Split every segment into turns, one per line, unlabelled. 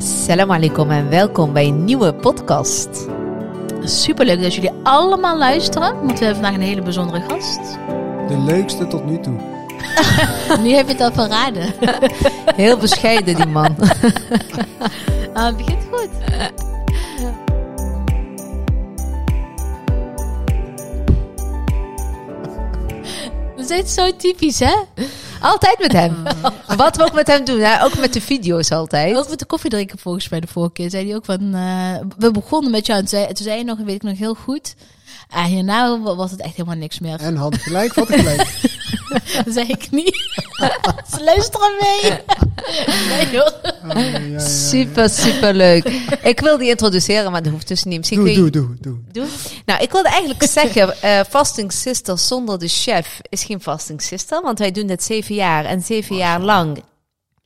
Salam alaikum en welkom bij een nieuwe podcast.
Superleuk dat jullie allemaal luisteren. Want we hebben vandaag een hele bijzondere gast.
De leukste tot nu toe.
Nu heb je het al verraden.
Heel bescheiden die man.
Ah, het begint goed. Dat is echt zo typisch, hè?
Altijd met hem. Wat we ook met hem doen, hè? ook met de video's altijd.
Ook met de koffie drinken volgens mij de vorige keer. Zei hij ook van... eh, we begonnen met jou en toen zei, toen zei je nog, weet ik nog heel goed... En hierna was het echt helemaal niks meer.
En had gelijk, wat gelijk.
Dat zei ik niet. Ze luisteren mee. Nee hoor.
Oh, ja, ja, ja.
Super, super leuk. Ik wil die introduceren, maar dat hoeft dus niet. Misschien kun
Doe,
je-
doe, doe, doe.
Doe. Nou, ik wilde eigenlijk zeggen, eh Fasting Sister zonder de chef is geen Fasting Sister, want wij doen dit zeven jaar en zeven jaar lang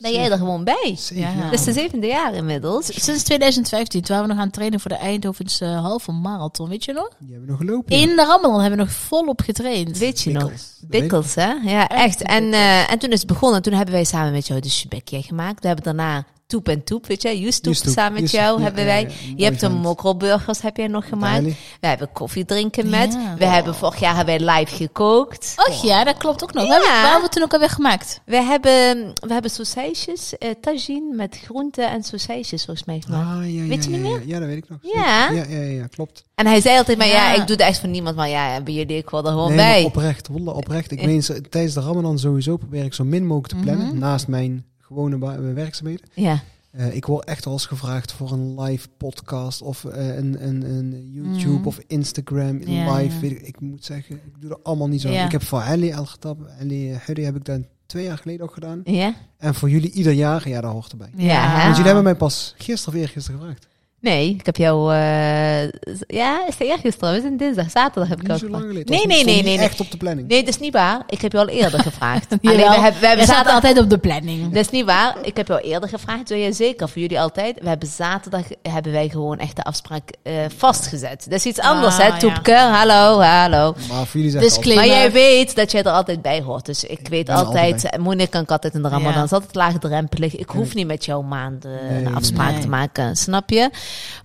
ben jij er gewoon bij.
Zeven
Ja.
jaar.
Dat is de zevende jaar inmiddels.
Sinds 2015, toen waren we nog aan het trainen voor de Eindhovense eh, halve marathon, weet je nog?
Die hebben we nog gelopen.
In de Ramadan hebben we nog volop getraind.
Weet je nog?
Bikkels.
Bikkels, hè? Ja, echt. En, eh, en toen is het begonnen. Toen hebben wij samen met jou de Shebekje gemaakt. We hebben daarna Toep en Toep, weet je? Joes Toep
Joes Toep,
samen met
Joes Toep.
jou
Ja,
hebben
ja,
wij.
ja. Mooi
Je hebt de
vent.
mokrelburgers heb jij nog gemaakt.
Dali.
We hebben koffie drinken met.
Ja.
We hebben vorig jaar hebben wij live gekookt.
Oh.
Och ja, dat klopt ook nog.
Ja.
We hebben, waar hebben we toen ook alweer gemaakt?
We hebben, we hebben saucijsjes, eh, tagine met groenten en saucijsjes volgens mij gemaakt.
Ah, ja, ja,
Weet je
ja,
niet
ja,
meer?
Ja, ja, dat weet ik nog.
Ja.
Ja, ja, ja, ja, klopt.
En hij zei altijd maar, ja,
Ja.
ik doe het echt voor niemand. Maar ja, bij jullie, ik wil er gewoon
Nee, maar
bij.
oprecht, wallah, oprecht. Ik meen, ze- tijdens de ramadan sowieso probeer ik zo min mogelijk te plannen.
Mhm.
Naast mijn gewone ba- werkzaamheden.
Ja.
Eh, ik word echt wel eens gevraagd voor een live podcast of eh, een, een, een YouTube
Mhm.
of Instagram in
Ja,
live.
ja.
Weet ik, ik moet zeggen, ik doe dat allemaal niet zo.
Ja.
Ik heb voor Ali al getapt. Ali eh, Hurry heb ik dan twee jaar geleden ook gedaan.
Ja?
En voor jullie ieder jaar, ja, dat hoort erbij.
Ja.
Want jullie hebben mij pas gisteren of eergisteren gevraagd.
Nee, ik heb jou... eh, z- ja, is het eergisteren? We zijn dinsdag, zaterdag heb ik jou
Niet zo lang
gevraagd.
geleden.
Nee,
Dat
nee,
stond
nee,
niet
nee. nee.
Echt op de planning.
Nee, dat is niet waar. Ik heb jou al eerder gevraagd. Alleen, we
Jawel.
hebben, we
Jij
hebben
staat
zaterdag...
altijd op de planning.
Dat is niet waar. Ik heb jou eerder gevraagd. Doe jij zeker voor jullie altijd? We hebben zaterdag hebben wij gewoon echt de afspraak eh, vastgezet. Dat is iets anders,
Ah,
hè? Toepke, hallo, hallo.
Maar voor jullie zijn
Dus
het
klik-
altijd-
Maar
Klimmen.
jij weet dat jij er altijd bij hoort. Dus ik weet
ben er
altijd,
altijd
eh, Monika kan ik altijd in de ramadan.
Ja.
Het is altijd laagdrempelig. Ik hoef niet met jou maanden
Nee,
een afspraak
nee.
te maken, snap je?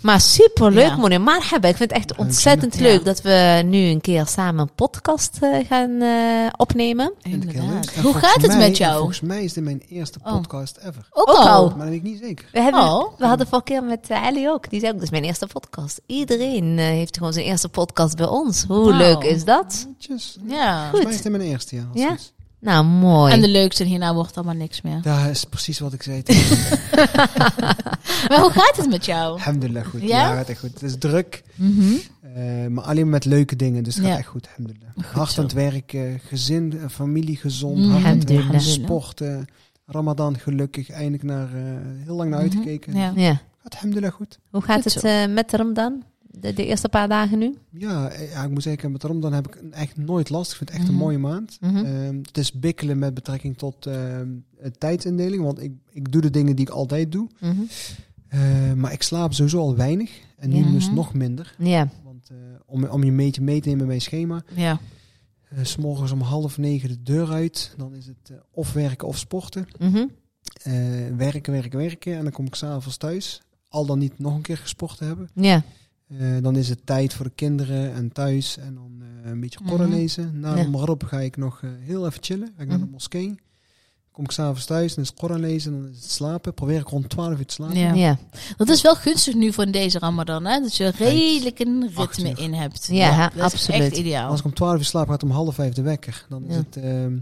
Maar superleuk,
Ja.
Monika. Maar hebben, ik vind het echt ontzettend
Alhamdulillah.
leuk
Ja.
dat we nu een keer samen een podcast eh, gaan eh, opnemen.
vind ik heel leuk. En
Hoe
volgens
gaat het
mij-
met jou?
Volgens mij is dit mijn eerste
Oh.
podcast ever.
Ook,
Ook
al.
al.
Maar dat weet ik niet zeker.
We, hebben,
Oh.
we hadden vorige keer met eh, Ali ook. Die zei ook, dit is mijn eerste podcast. Iedereen eh, heeft gewoon zijn eerste podcast bij ons. Hoe
Wauw.
leuk is dat?
Tjus.
Ja.
Volgens mij is dit mijn eerste jaar.
Ja.
Ja.
Nou, mooi.
En de leukste hierna wordt allemaal niks meer.
Dat is precies wat ik zei. tegen je.
Maar hoe gaat het met jou?
Alhamdulillah goed.
Ja?
Ja? gaat echt goed. Het is druk,
Mhm.
eh, maar alleen met leuke dingen. Dus het
Ja.
gaat echt goed. Alhamdulillah. Hard aan het werken, gezin, eh, familie gezond.
Mm.
Hard aan het werken,
Alhamdulillah.
sporten. Ramadan gelukkig, eindelijk naar, eh, heel lang naar
Mhm.
uitgekeken.
Ja.
ja.
Gaat alhamdulillah goed.
Hoe gaat
Goed
het
zo.
eh, met de Ramadan? De, de eerste paar dagen nu?
Ja, eh, ja, ik moet zeggen, met Ramadan heb ik echt nooit last. Ik vind het echt
Mhm.
een mooie maand.
Mhm.
Ehm, het is bikkelen met betrekking tot ehm, eh, tijdsindeling. Want ik, ik doe de dingen die ik altijd doe.
Mhm.
Eh, maar ik slaap sowieso al weinig. En nu
Ja.
dus nog minder.
Ja.
Want eh, om, om je een beetje mee te nemen in mijn schema.
ja.
eh, s S'morgens om half negen de deur uit. Dan is het eh, of werken of sporten.
Mhm.
Eh, werken, werken, werken. En dan kom ik s'avonds thuis. Al dan niet nog een keer gesport te hebben.
Ja.
Eh, dan is het tijd voor de kinderen en thuis en dan eh, een beetje Koran
Mhm.
lezen. Na
Ja.
de Marab ga ik nog eh, heel even chillen. Ga ik naar de
Mhm.
moskee. Kom ik s'avonds thuis, dan is het Koran lezen, dan is het slapen. Probeer ik rond 12 uur te slapen.
Ja.
Ja. ja.
Dat is wel gunstig nu voor deze Ramadan, hè? Dat je redelijk een
Acht
ritme
uur.
in hebt.
Ja,
dat
absoluut.
Is echt ideaal.
Als ik om 12 uur slaap, gaat om half vijf de wekker. Dan is
Nou. Ja.
het ehm,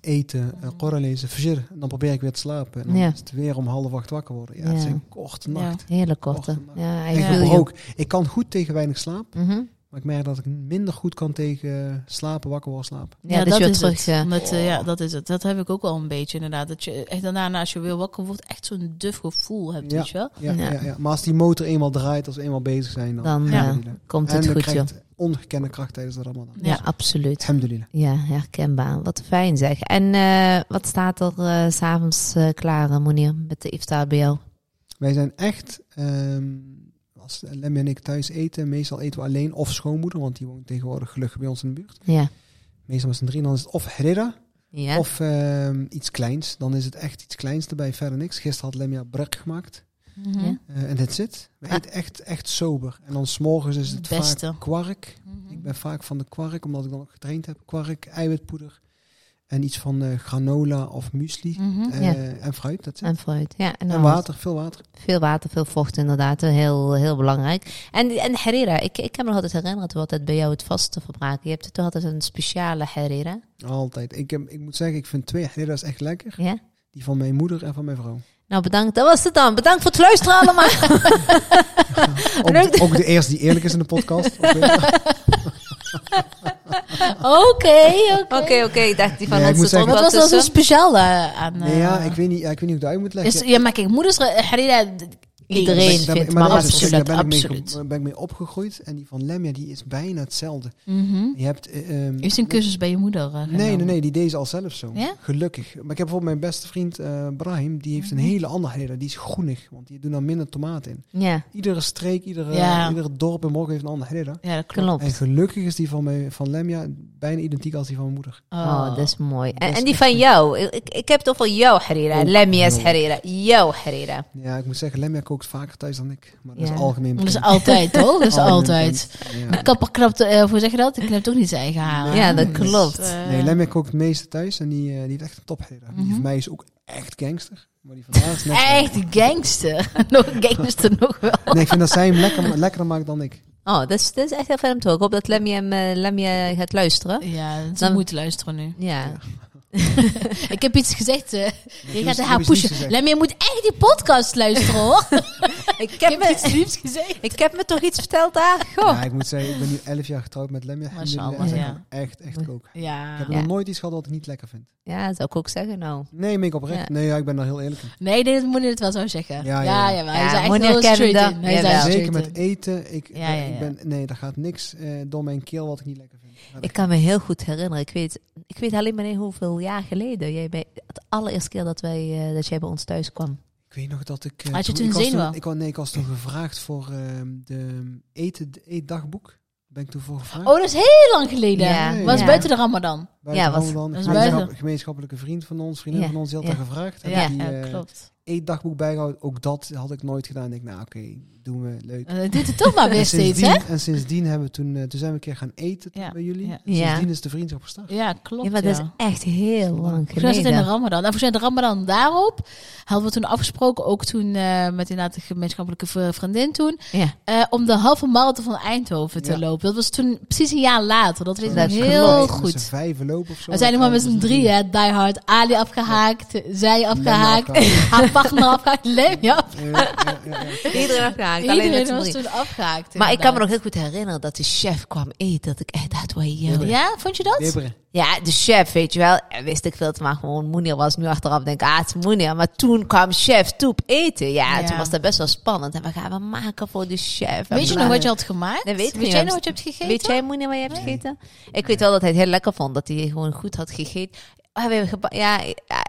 eten, eh, Koran lezen, fajr. En dan probeer ik weer te slapen. En dan
Ja.
is het weer om half acht wakker worden. Ja,
Ja.
Het zijn korte
Ja.
nachten.
Hele korte.
Korte nacht.
Ja, I
Ik,
feel you.
gebroken. ik kan goed tegen weinig slaap,
Mhm.
maar ik merk dat ik minder goed kan tegen eh, slapen, wakker worden, slapen.
Ja, dat, je weer terug...
het.
eh,
Omdat, eh,
Oh.
ja, dat is het. Dat heb ik ook wel een beetje inderdaad. Dat je echt daarna, als je weer wakker wordt, echt zo'n duf gevoel hebt,
Ja.
weet je wel?
Ja,
Ja.
ja. Ja, maar als die motor eenmaal draait, als we eenmaal bezig zijn, dan,
Dan,
ja.
eh, komt het
en
goed,
dan
joh.
krijgt ongekende kracht tijdens de Ramadan.
Ja,
Ja.
absoluut.
Alhamdulillah.
Ja, herkenbaar. Wat fijn zeg. En eh, wat staat er eh, s s'avonds eh klaar, eh, Monir, met de iftar bij jou?
Wij zijn echt, ehm, als Lem en ik thuis eten, meestal eten we alleen of schoonmoeder, want die woont tegenwoordig gelukkig bij ons in de buurt.
Ja.
Meestal met z'n drieën, dan is het of herida
Ja.
of ehm, iets kleins. Dan is het echt iets kleins erbij, verder niks. Gisteren had Lemia brek gemaakt.
Mhm.
Ja.
Eh, En dat zit. it. We
Ja.
eten echt, echt sober. En dan s'morgens is het
Het beste.
vaak kwark.
Mhm.
Ik ben vaak van de kwark, omdat ik dan ook getraind heb. Kwark, eiwitpoeder en iets van eh, granola of muesli.
Mhm.
Eh,
ja.
En fruit, dat zit.
En fruit. Ja, en,
En
dan
water, veel water.
Veel water, veel vocht inderdaad. Eh, Heel, heel belangrijk. En, en harira, ik, ik kan me nog altijd herinneren toen we altijd bij jou het vaste verbraken. Je hebt toen altijd een speciale harira.
Altijd. Ik, heb- ik moet zeggen, ik vind twee heridas echt lekker.
Ja?
Die van mijn moeder en van mijn vrouw.
Nou, bedankt. Dat was het dan. Bedankt voor het luisteren allemaal.
Ook,
Leuk.
de- ook de eerste die eerlijk is in de podcast. Oké.
Oké, oké.
Oké, oké. Ik dacht, die van
Nee, ik
ons
moet
zit er ook
zeggen-
Wat
wel
was dat zo
tussen.
speciaal eh, aan?
Nee, ja,
eh,
ik weet niet, ja, ik weet niet hoe ik dat uit moet leggen.
is, ja, maar kijk, moeders, eh, Harira, d-
Iedereen.
iedereen.
vindt
Daar-
maar
daar is het,
absoluut,
daar ben ik, mee,
absoluut.
ge- ben ik mee opgegroeid. En die van Lemja, die is bijna hetzelfde.
Mhm.
Je hebt... eh, ehm,
Is een cursus bij je moeder? eh,
Nee, nee,
genomen?
nee, die deed ze al zelf zo.
Ja?
Gelukkig. Maar ik heb bijvoorbeeld mijn beste vriend eh Brahim, die
Mhm.
heeft een hele andere herder. Die is groenig, want die doen dan minder tomaat in.
Ja,
Iedere streek, iedere,
Ja.
iedere dorp en morgen heeft een andere herder.
Ja, dat klopt.
En
klopt.
gelukkig is die van, mijn, van Lemja bijna identiek als die van mijn moeder.
Oh, dat is mooi. En,
Dat is
en die
echt
van jou. Ik, ik heb het over jouw harira.
Oh,
Lemmia's
joh.
harira. Jouw harira.
Ja, ik moet zeggen, Lemja kookt vaker thuis dan ik. Maar dat
Ja.
is algemeen
Dat
bekend.
is altijd, toch? Dat is
Algemeen
altijd.
bekend.
De kapper knapt, eh hoe zeg je dat? Die knapt toch niet zijn eigen haren.
Ja, dat
Dus,
klopt.
eh,
Nee, Lemja kookt het meeste thuis en die, eh, die heeft echt een topherder.
Mhm.
Die van mij is ook echt gangster. Maar die van haar is net zo.
Echt gangster. nog gangster nog wel.
Nee, ik vind dat zij hem lekker, lekkerder maakt dan ik.
Oh, dat is, dat is echt heel fijn om te horen. Ik hoop dat Lemmy hem eh, Lemmy, eh, gaat luisteren.
Ja, ze
Dan-
moet luisteren nu.
Ja.
Ik heb iets gezegd. eh, je
is-
gaat
ik
haar
heb iets liefs
pushen.
gezegd.
Lemmy, je moet echt die podcast luisteren, hoor.
Ik
Ik
heb,
heb
me,
iets liefs gezegd.
ik heb me toch iets verteld daar? Goh.
Ja, ik moet zeggen, ik ben nu 11 jaar getrouwd met Lemja. En die-
Mashallah,
en zij
ja.
kan echt, echt koken. Ik
Ja.
heb nog nooit iets gehad wat ik niet lekker vind.
Ja, dat zou ik ook zeggen nou.
Nee, meen ik oprecht.
Ja.
Nee, ja, ik ben daar heel eerlijk in.
Nee, ik denk dat Monier het wel zou zeggen. Ja,
Ja,
ja,
ja.
ja.
Ja,
Hij is echt
Monia
heel
kent
straight
dat.
in. Hij is
Jawel.
echt
Zeker
straight
met
in.
eten. Ik,
Ja, ja,
eh,
ja.
Ik ben, nee, daar gaat niks eh, door mijn keel wat ik niet lekker vind. Gaat
Ik
echt
kan me heel goed herinneren. Ik weet, ik weet alleen maar niet hoeveel jaar geleden. Jij bij het allereerste keer dat, wij, eh, dat jij bij ons thuis kwam.
Ik weet nog dat ik... eh,
Had je toen
ik was
zenuwen?
Ik, was- nee, ik was toen gevraagd voor ehm, de eten, de eetdagboek. Ben ik toen voor gevraagd.
Oh, dat is heel lang geleden.
Ja.
Was
Ja.
buiten de ramadan.
Bij
ja,
ja,
was-
was, dan
was buiten.
gemeenschap, gemeenschappelijke vriend van ons, vriendin
Ja,
van ons, die had
ja.
daar gevraagd. Heb
Ja,
die,
ja,
eh,
klopt.
eetdagboek bijgehouden. Ook dat had ik nooit gedaan. Ik denk, nou oké, doen we, leuk.
Eh, Dit doet het toch maar weer
en,
steeds, hè?
sindsdien, en sindsdien hebben we toen, eh, toen zijn we een keer gaan eten toen
Ja,
bij jullie.
ja.
En Sindsdien
Ja.
is de vriendschap gestart.
Ja, klopt.
ja, maar dat is echt heel lang
Volgens mij zit het in de
geleden.
Ramadan. En volgens mij de Ramadan daarop hadden we toen afgesproken, ook toen eh, met inderdaad de gemeenschappelijke v- vriendin toen,
Ja,
eh, om de halve marathon van Eindhoven te
Ja.
lopen. Dat was toen precies een jaar later. Dat weet ik
Dat
nog
klopt.
heel
Met
Met z'n
goed.
vijven lopen of zo.
We zijn nog maar met z'n drieën, hè, die hard. Ali afgehaakt, zij afgehaakt,
afgehaakt.
haar partner afgehaakt, Lemmy afgehaakt.
Ja, ja, ja, ja.
iedereen afgehaakt. alleen met
Iedereen
z'n
was
drie.
toen afgehaakt.
Maar ik kan me nog
inderdaad.
heel goed herinneren dat de chef kwam eten. Dat ik echt dacht, wow.
nog-
Ja, vond je dat?
Wibberen.
Ja, de chef, weet je wel. En wist ik veel te maken. Gewoon Moenier was nu achteraf. Denk, ah, het is Moenier. Maar toen kwam chef Toep eten. Ja,
Ja.
toen was dat best wel spannend. En we gaan we maken voor de chef. En
Weet je
bla-
nog wat je had gemaakt?
Nee, weet ik
weet
niet.
jij nog wat je hebt gegeten?
Weet jij Moenier wat je hebt gegeten? Ik weet wel dat hij het heel lekker vond. Dat hij gewoon goed had gegeten. Ah, we hebben geba- ja,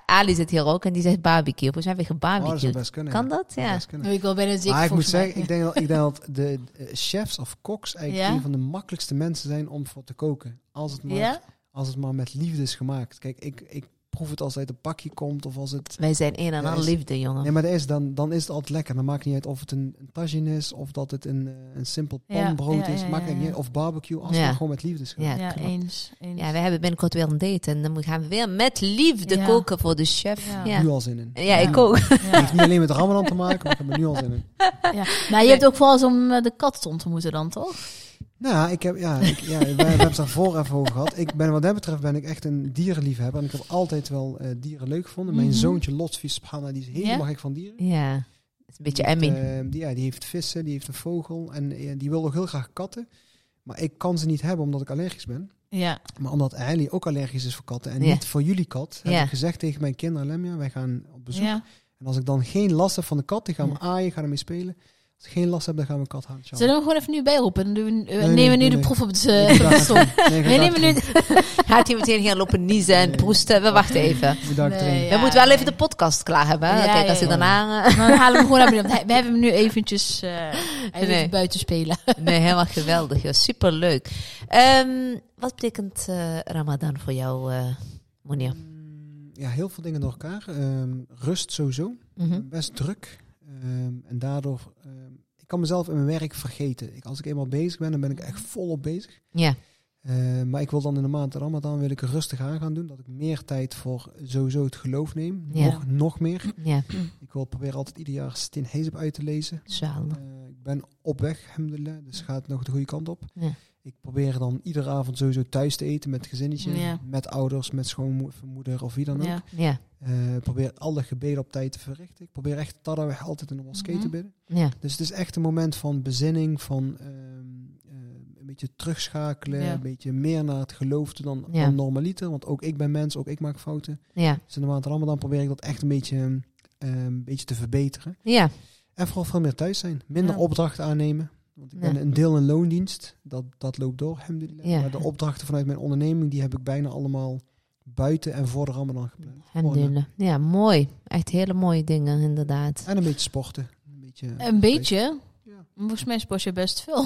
Ali zit hier ook en die zegt barbecue. Volgens mij hebben we
Oh, dat zou
gebarbecued.
best kunnen.
kan
ja.
dat?
zou
Ja.
best kunnen.
Nou, ik wil bijna zeker
Maar ik moet
volgens mij-
zeggen, ik denk, dat, ik denk dat de eh, chefs of koks eigenlijk
Ja?
een van de makkelijkste mensen zijn om voor te koken. Als het maar,
Ja?
als het maar met liefde is gemaakt. Kijk, ik, ik proef het als het uit een pakje komt of als het...
Wij zijn een en
Ja,
al
is-
liefde, jongen.
Nee, maar dat is, dan, dan is het altijd lekker. Dan maakt niet uit of het een, een tagine is of dat het een, eh, een simpel
Ja, ja,
panbrood is.
ja,
Maakt
ja,
niet
ja.
uit. Of barbecue, als het
Ja.
maar gewoon met liefde is gemaakt.
Ja,
Ja,
klopt.
eens. eens.
Ja, we hebben binnenkort weer een date. En dan gaan we weer met liefde
Ja.
koken voor de chef.
Ja.
Ja,
Nu
ja.
al zin in.
ik ook.
Ja.
Niet alleen met Ramadan te maken, maar ik heb er nu al zin in.
Ja. Nou, je hebt ook vooral eens om eh, de kat te ontmoeten dan, toch?
Nou, ik heb, ja, ik, ja, we, we hebben het daarvoor even over gehad. Ik ben, wat dat betreft ben ik echt een dierenliefhebber. En ik heb altijd wel eh, dieren leuk gevonden. Mijn
Mhm.
zoontje Lotfi Subhana, die is helemaal
Ja?
gek van dieren.
Ja, het is een beetje
Die heeft,
Emmy.
eh, die, ja, die heeft vissen, die heeft een vogel. En eh, die wil ook heel graag katten. Maar ik kan ze niet hebben omdat ik allergisch ben.
Ja.
Maar omdat Ellie ook allergisch is voor katten en
Ja.
niet voor jullie kat, heb
Ja.
ik gezegd tegen mijn kinderen, Lemja, wij gaan op bezoek.
ja.
En als ik dan geen last heb van de kat, die gaan we aaien, gaan ermee spelen. Als ik geen last heb, dan gaan we een kat halen.
Zullen we hem gewoon even nu bijroepen? Dan doen we, eh,
Nee,
nemen
nee,
we nu
nee,
de
nee.
proef op het...
Nee,
eh,
vandaag
stom.
niet. Nee,
we
vandaag
nemen nu...
niet.
Gaat hij meteen gaan lopen niezen en
Nee.
proesten? We wachten even.
Ik moet daar
Nee,
trainen.
we
Ja,
moeten wel
nee.
even de podcast klaar hebben. hè.
Ja,
Kijk, als
ja,
hij
ja.
daarna... eh,
Dan halen we hem gewoon naar beneden. want hij- We hebben hem nu eventjes... eh hij wil
Nee.
even buiten spelen.
nee, helemaal geweldig. Ja, superleuk. Ehm, wat betekent eh, Ramadan voor jou, eh Monia?
Mm, Ja, heel veel dingen door elkaar. Ehm, rust sowieso.
Mhm.
Best druk. Eh, Ehm, en daardoor, ehm, ik kan mezelf in mijn werk vergeten. Ik, als ik eenmaal bezig ben, dan
Mhm.
ben ik echt volop bezig.
Ja.
Eh, maar ik wil dan in de maand Ramadan wil ik er rustig aan gaan doen. Dat ik meer tijd voor sowieso het geloof neem.
Ja. Mhm.
Nog, nog meer.
Ja.
Ik wil proberen altijd ieder jaar Stin Hezeb uit te lezen.
Zalig.
Eh, ik ben op weg, alhamdulillah. Dus gaat nog de goede kant op.
Mhm. Ja.
Ik probeer dan iedere avond sowieso thuis te eten met het gezinnetje.
Ja.
Met ouders, met schoonmoeder of wie dan ook.
Ja.
Ja.
Eh, ik probeer alle gebeden op tijd te verrichten. Ik probeer echt tarawih altijd in de moskee
Mhm.
te bidden.
Ja.
Dus het is echt een moment van bezinning, van ehm, eh, een beetje terugschakelen,
Ja.
een beetje meer naar het geloof toe dan,
Ja.
dan normaliter. Want ook ik ben mens, ook ik maak fouten.
Ja.
Dus in de maand Ramadan probeer ik dat echt een beetje, ehm, een beetje te verbeteren.
Ja.
En vooral veel meer thuis zijn. Minder
Ja.
opdrachten aannemen. Want ik ben
Ja.
een deel in loondienst. Dat, dat loopt door, alhamdulillah.
Ja.
Maar de opdrachten vanuit mijn onderneming, die heb ik bijna allemaal buiten en voor de Ramadan gepland.
Alhamdulillah. Ja, mooi. Echt hele mooie dingen, inderdaad.
En een beetje sporten. Een beetje,
Een beetje.
Ja.
Volgens mij sport je best veel.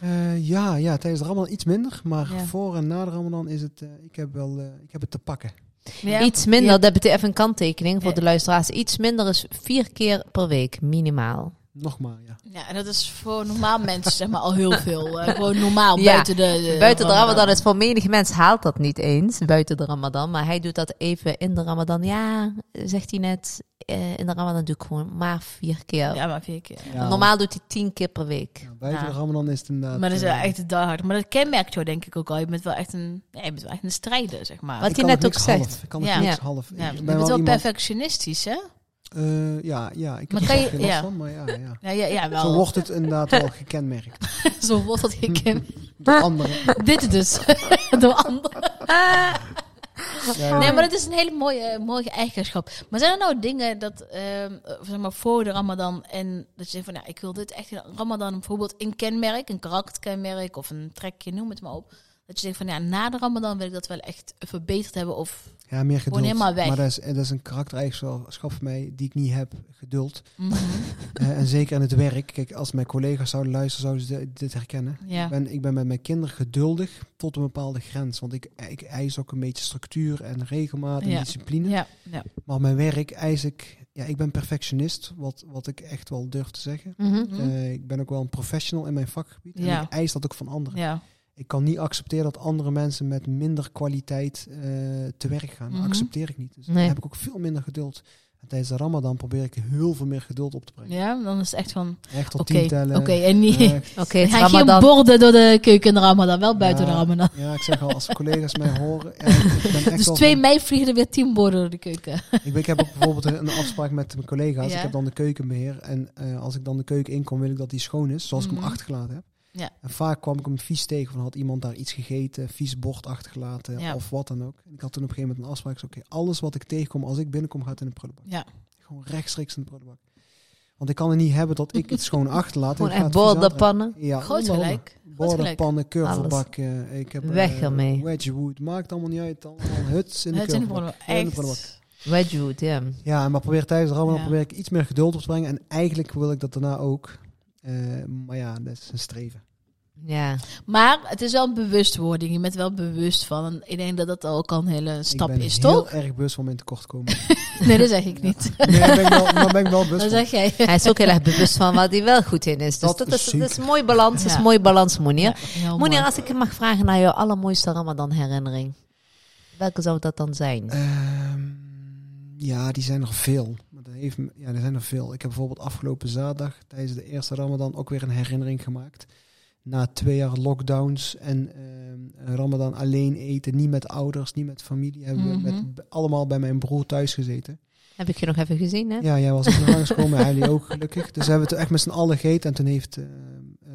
Eh, ja, ja, tijdens de Ramadan iets minder. Maar
Ja.
voor en na de Ramadan is het, eh, ik heb wel, eh, ik heb het te pakken.
Iets minder,
Ja.
dat betekent even een kanttekening voor
Ja.
de luisteraars. Iets minder is vier keer per week, minimaal.
Nog maar, ja.
Ja, en dat is voor normaal mensen zeg maar al heel veel. Eh, gewoon normaal,
Ja.
buiten de... de-
Buiten de Ramadan is voor menig mens haalt dat niet eens, buiten de Ramadan. Maar hij doet dat even in de Ramadan. Ja, zegt hij net, eh, in de Ramadan doe ik gewoon maar vier keer.
Ja, maar vier keer.
Ja,
Normaal doet hij tien keer per week.
ja, buiten
Ja.
de Ramadan is het inderdaad...
Maar dat is wel
eh,
echt hard. Maar dat kenmerkt jou denk ik ook al. Je bent wel echt een, ja, je bent wel echt een strijder, zeg maar.
Wat
ik
hij
kan
net
nog
ook
niks
zegt.
half. Ik kan nog
Ja.
niks half.
ja,
ik
je
ben
bent
wel
wel
iemand-
perfectionistisch, hè?
eh, ja, ja, ik
Maar
heb
kan
er
je-
zelf geen last
ja.
van, maar ja, ja.
Ja, ja, ja wel.
Zo wordt het inderdaad wel gekenmerkt.
Zo wordt dat gekend.
Door anderen.
Dit dus. Door anderen.
Ja, ja.
Nee, maar dat is een hele mooie, mooie eigenschap. Maar zijn er nou dingen dat, ehm, eh, zeg maar, voor de Ramadan en dat je zegt van, nou, ik wil dit echt in Ramadan bijvoorbeeld een kenmerk, een karakterkenmerk of een trekje, noem het maar op. Dat je zegt van, ja, na de Ramadan wil ik dat wel echt verbeterd hebben of.
ja, meer geduld.
helemaal weg.
Maar dat is, dat is een karaktereigenschap voor mij die ik niet heb, geduld.
mm-hmm.
Eh, en zeker in het werk. Kijk, als mijn collega's zouden luisteren, zouden ze dit- dit herkennen.
ja.
Ik ben, ik ben met mijn kinderen geduldig tot een bepaalde grens. Want ik, ik eis ook een beetje structuur en regelmaat en
Ja.
discipline.
Ja, ja.
Maar mijn werk eis ik... Ja, ik ben perfectionist, wat, wat ik echt wel durf te zeggen.
Mhm.
Mhm.
Eh, ik ben ook wel een professional in mijn vakgebied.
Ja.
En ik eis dat ook van anderen.
ja.
Ik kan niet accepteren dat andere mensen met minder kwaliteit eh, te werk gaan.
Mhm.
Dat accepteer ik niet. Dus
Nee.
daar heb ik ook veel minder geduld. En tijdens de ramadan probeer ik heel veel meer geduld op te brengen.
Ja, dan is het echt van,
Echt tot
oké,
tien
oké,
tellen.
en niet...
Echt.
Oké, het
Hij ging
Ramadan.
borden door de keuken in de Ramadan, wel buiten
Ja.
de Ramadan.
Ja, ik zeg al, als collega's mij horen... Ja, ik, ben echt
Dus
wel
2
van-
mei vliegen er weer 10 borden door de keuken.
ik, ik heb ook bijvoorbeeld een afspraak met mijn collega's.
Ja.
Ik heb dan de keukenbeheer. En eh, als ik dan de keuken inkom, wil ik dat die schoon is. Zoals ik
Mhm.
hem achtergelaten heb.
Ja.
En vaak kwam ik hem vies tegen. Van had iemand daar iets gegeten, vies bord achtergelaten
Ja.
of wat dan ook. En ik had toen op een gegeven moment een afspraak. Ik zei, Oké, alles wat ik tegenkom als ik binnenkom, gaat in de prullenbak.
Ja.
Gewoon rechtstreeks in de prullenbak. Want ik kan het niet hebben dat ik het schoon achterlaat.
Gewoon
en ik ga
echt
het vies
borden,
aanbrengen.
pannen.
Ja,
Groot
onder andere.
gelijk. Groot
Borden,
gelijk.
pannen, curvelbakken. Ik heb eh,
Weg ermee.
Wedgewood, maakt allemaal niet uit. Allemaal huts in de
Het zijn de borden,
curvelbak. Gewoon in de prullenbak.
Echt.
Wedgwood, ja.
Ja, maar probeer tijdens de ramadan
Ja.
probeer ik iets meer geduld op te brengen. En eigenlijk wil ik dat daarna ook. Eh, maar ja, dat is een streven.
Ja.
Maar het is wel een bewustwording. Je bent wel bewust van. En ik denk dat dat ook al een hele stap
ik ben
is,
heel
toch?
erg bewust van mijn tekortkomen.
Nee, dat zeg ik niet.
nee, daar ben ik wel, daar ben ik wel
Dat
bewust van.
zeg jij.
Hij is ook heel erg bewust van wat hij wel goed in is. Dus dat,
Dat
is,
is
dat is een mooi balans, dat is een mooi balans, Monia.
Heel Oh, mooi.
Monia, als ik je mag vragen naar jouw allermooiste Ramadan-herinnering. Welke zou dat dan zijn?
Eh,
Ehm, ja, die zijn er veel. Maar dat heeft, me- ja, er zijn er veel. Ik heb bijvoorbeeld afgelopen zaterdag tijdens de eerste ramadan ook weer een herinnering gemaakt. Na twee jaar lockdowns en ehm, ramadan alleen eten, niet met ouders, niet met familie, hebben we
Mhm.
met, allemaal bij mijn broer thuis gezeten.
Heb ik je nog even gezien, hè?
Ja, jij was ook nog aangekomen, en Heilie ook gelukkig. Dus we hebben het echt met z'n allen gegeten. En toen heeft eh, eh,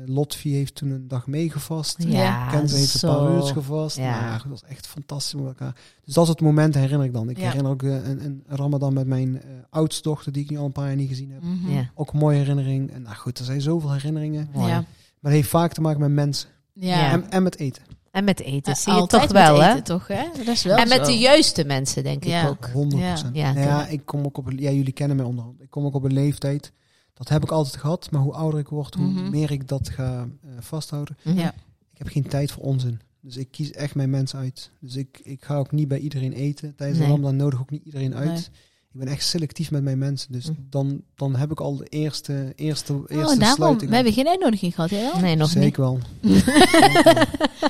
Lotfi heeft toen een dag meegevast.
Ja,
Kenzo heeft
zo.
een paar uurtjes gevast. Nou
Ja.
Ja. dat was echt fantastisch met elkaar. Dus dat is het moment, herinner ik dan. Ik
Ja.
herinner ook eh, een, een ramadan met mijn eh, oudste dochter, die ik nu al een paar jaar niet gezien heb.
Mhm.
Ja.
Ook een mooie herinnering. En nou goed, er zijn zoveel herinneringen.
Mooi.
Ja.
Maar het heeft vaak te maken met mensen.
Ja.
Ja.
En, en met eten.
En met eten,
Eh,
zie je
altijd
toch wel,
met
hè?
eten, toch, hè? Dat is wel
En met
zo. Oh,
de juiste mensen, denk ik
Ja.
ook.
100%.
Ja,
Ja, nou ja,
tuurlijk.
ik kom ook op, een- ja, jullie kennen mij onderhand. Ik kom ook op een leeftijd. Dat heb ik altijd gehad. Maar hoe ouder ik word, hoe
Mhm.
meer ik dat ga eh, vasthouden.
Mhm.
Ja.
Ik heb geen tijd voor onzin. Dus ik kies echt mijn mensen uit. Dus ik, ik ga ook niet bij iedereen eten. Tijdens de
Nee.
Ramadan nodig ook niet iedereen uit. Ik ben echt selectief met mijn mensen. Dus
Hm.
dan, dan heb ik al de eerste, eerste, eerste
Mhm. Oh, daarom.
sluiting.
We hebben geen uitnodiging gehad, hè?
Nee, nog niet.
Zeker wel.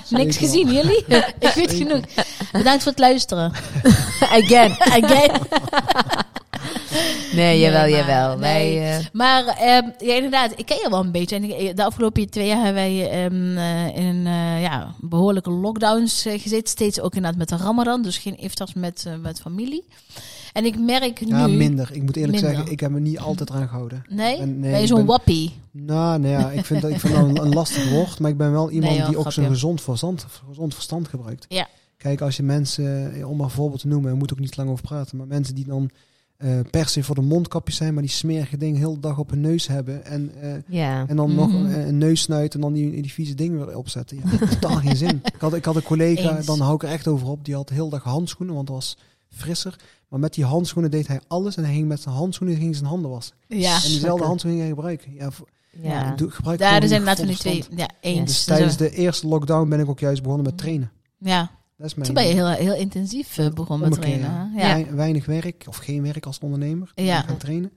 Niks gezien, jullie? Ik weet genoeg. Bedankt voor het luisteren.
Again.
Again.
Nee, jawel,
maar-
jawel.
nee.
Wij, eh,
Maar ehm, ja, inderdaad, ik ken je wel een beetje. En ik- eh, de afgelopen twee jaar hebben wij ehm, eh, in een eh, ja, behoorlijke lockdowns eh, gezeten. Steeds ook inderdaad met de Ramadan, dus geen iftars met, eh, met familie. En ik merk nu.
Ja, minder. Ik moet eerlijk
Minder.
zeggen, ik heb me niet altijd eraan gehouden.
Nee?
En nee,
ben je
ik
zo'n
ben-
wappie?
Nou, nou ja, ik vind dat ik vind dat een, een lastig woord, maar ik ben wel iemand
Nee, joh,
die ook zijn
grapje.
gezond verstand, gezond verstand gebruikt.
Ja.
Kijk, als je mensen, eh, om maar een voorbeeld te noemen, we moeten ook niet lang over praten, maar mensen die dan eh, per se voor de mondkapjes zijn, maar die smerige dingen heel de dag op hun neus hebben en, eh,
ja.
en dan nog
Mhm.
een, een neus snuiten en dan die, die vieze dingen weer opzetten. Ja, dat heeft totaal geen zin. Ik had, ik had een collega,
Eens.
dan hou ik er echt over op, die had heel de dag handschoenen, want dat was frisser. Maar met die handschoenen deed hij alles en hij ging met zijn handschoenen ging zijn handen wassen.
Ja.
En diezelfde handschoenen ging hij gebruiken. Ja, voor-
Ja.
Doe, gebruik
Daar
gewoon
zijn
die
laten we nu
gezonde
twee.
verstand.
Ja, eens.
Dus
Dus,
tijdens
eh,
de eerste lockdown ben ik ook juist begonnen met trainen.
ja.
Dat is
Toen
mijn
ben je heel, heel intensief eh, begonnen met
ommekeer,
trainen. hè? Ja.
Wei- Weinig werk of geen werk als ondernemer.
Ja.
Ik Gaan trainen.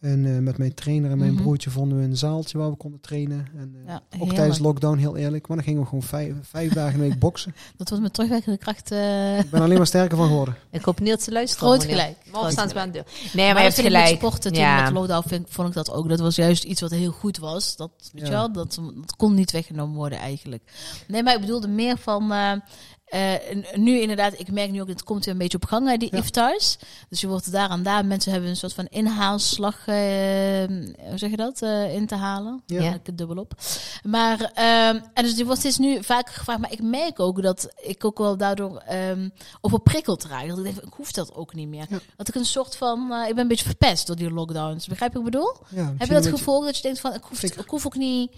En eh, met mijn trainer en mijn
Mhm.
broertje vonden we een zaaltje waar we konden trainen. En, eh,
Ja,
ook
heerlijk.
tijdens lockdown, heel eerlijk. Maar dan gingen we gewoon vijf, vijf dagen een week boksen.
Dat was met terugwerkende kracht. eh
Ik ben alleen maar sterker van geworden.
Ik hoop niet dat ze luisteren.
Groot
meneer.
gelijk.
Morgen staan ze bij aan de deur. Nee, maar,
maar
je hebt
dat vind ik met
gelijk.
sporten toen
Ja.
met lockdown vind, ik- vond ik dat ook. Dat was juist iets wat heel goed was. Dat, weet je
Ja.
wel, dat, dat kon niet weggenomen worden eigenlijk. Nee, maar ik bedoelde meer van... eh, eh, en nu inderdaad, ik merk nu ook, het komt weer een beetje op gang, hè, die
Ja.
iftars. Dus je wordt daar aan daar. Mensen hebben een soort van inhaalslag, eh, hoe zeg je dat, eh, in te halen.
Ja.
Ja.
Ja, ik het dubbel op. Maar, ehm, en dus die wordt steeds nu vaker gevraagd. Maar ik merk ook dat ik ook wel daardoor ehm overprikkeld raak. Dat ik denk, van, ik hoef dat ook niet meer.
Ja.
Dat ik een soort van, eh, ik ben een beetje verpest door die lockdowns. Begrijp je wat ik bedoel?
Ja, misschien
Heb
een
je dat
beetje-
gevoel dat je denkt van, ik hoef, het-
Zeker.
ik hoef ook niet...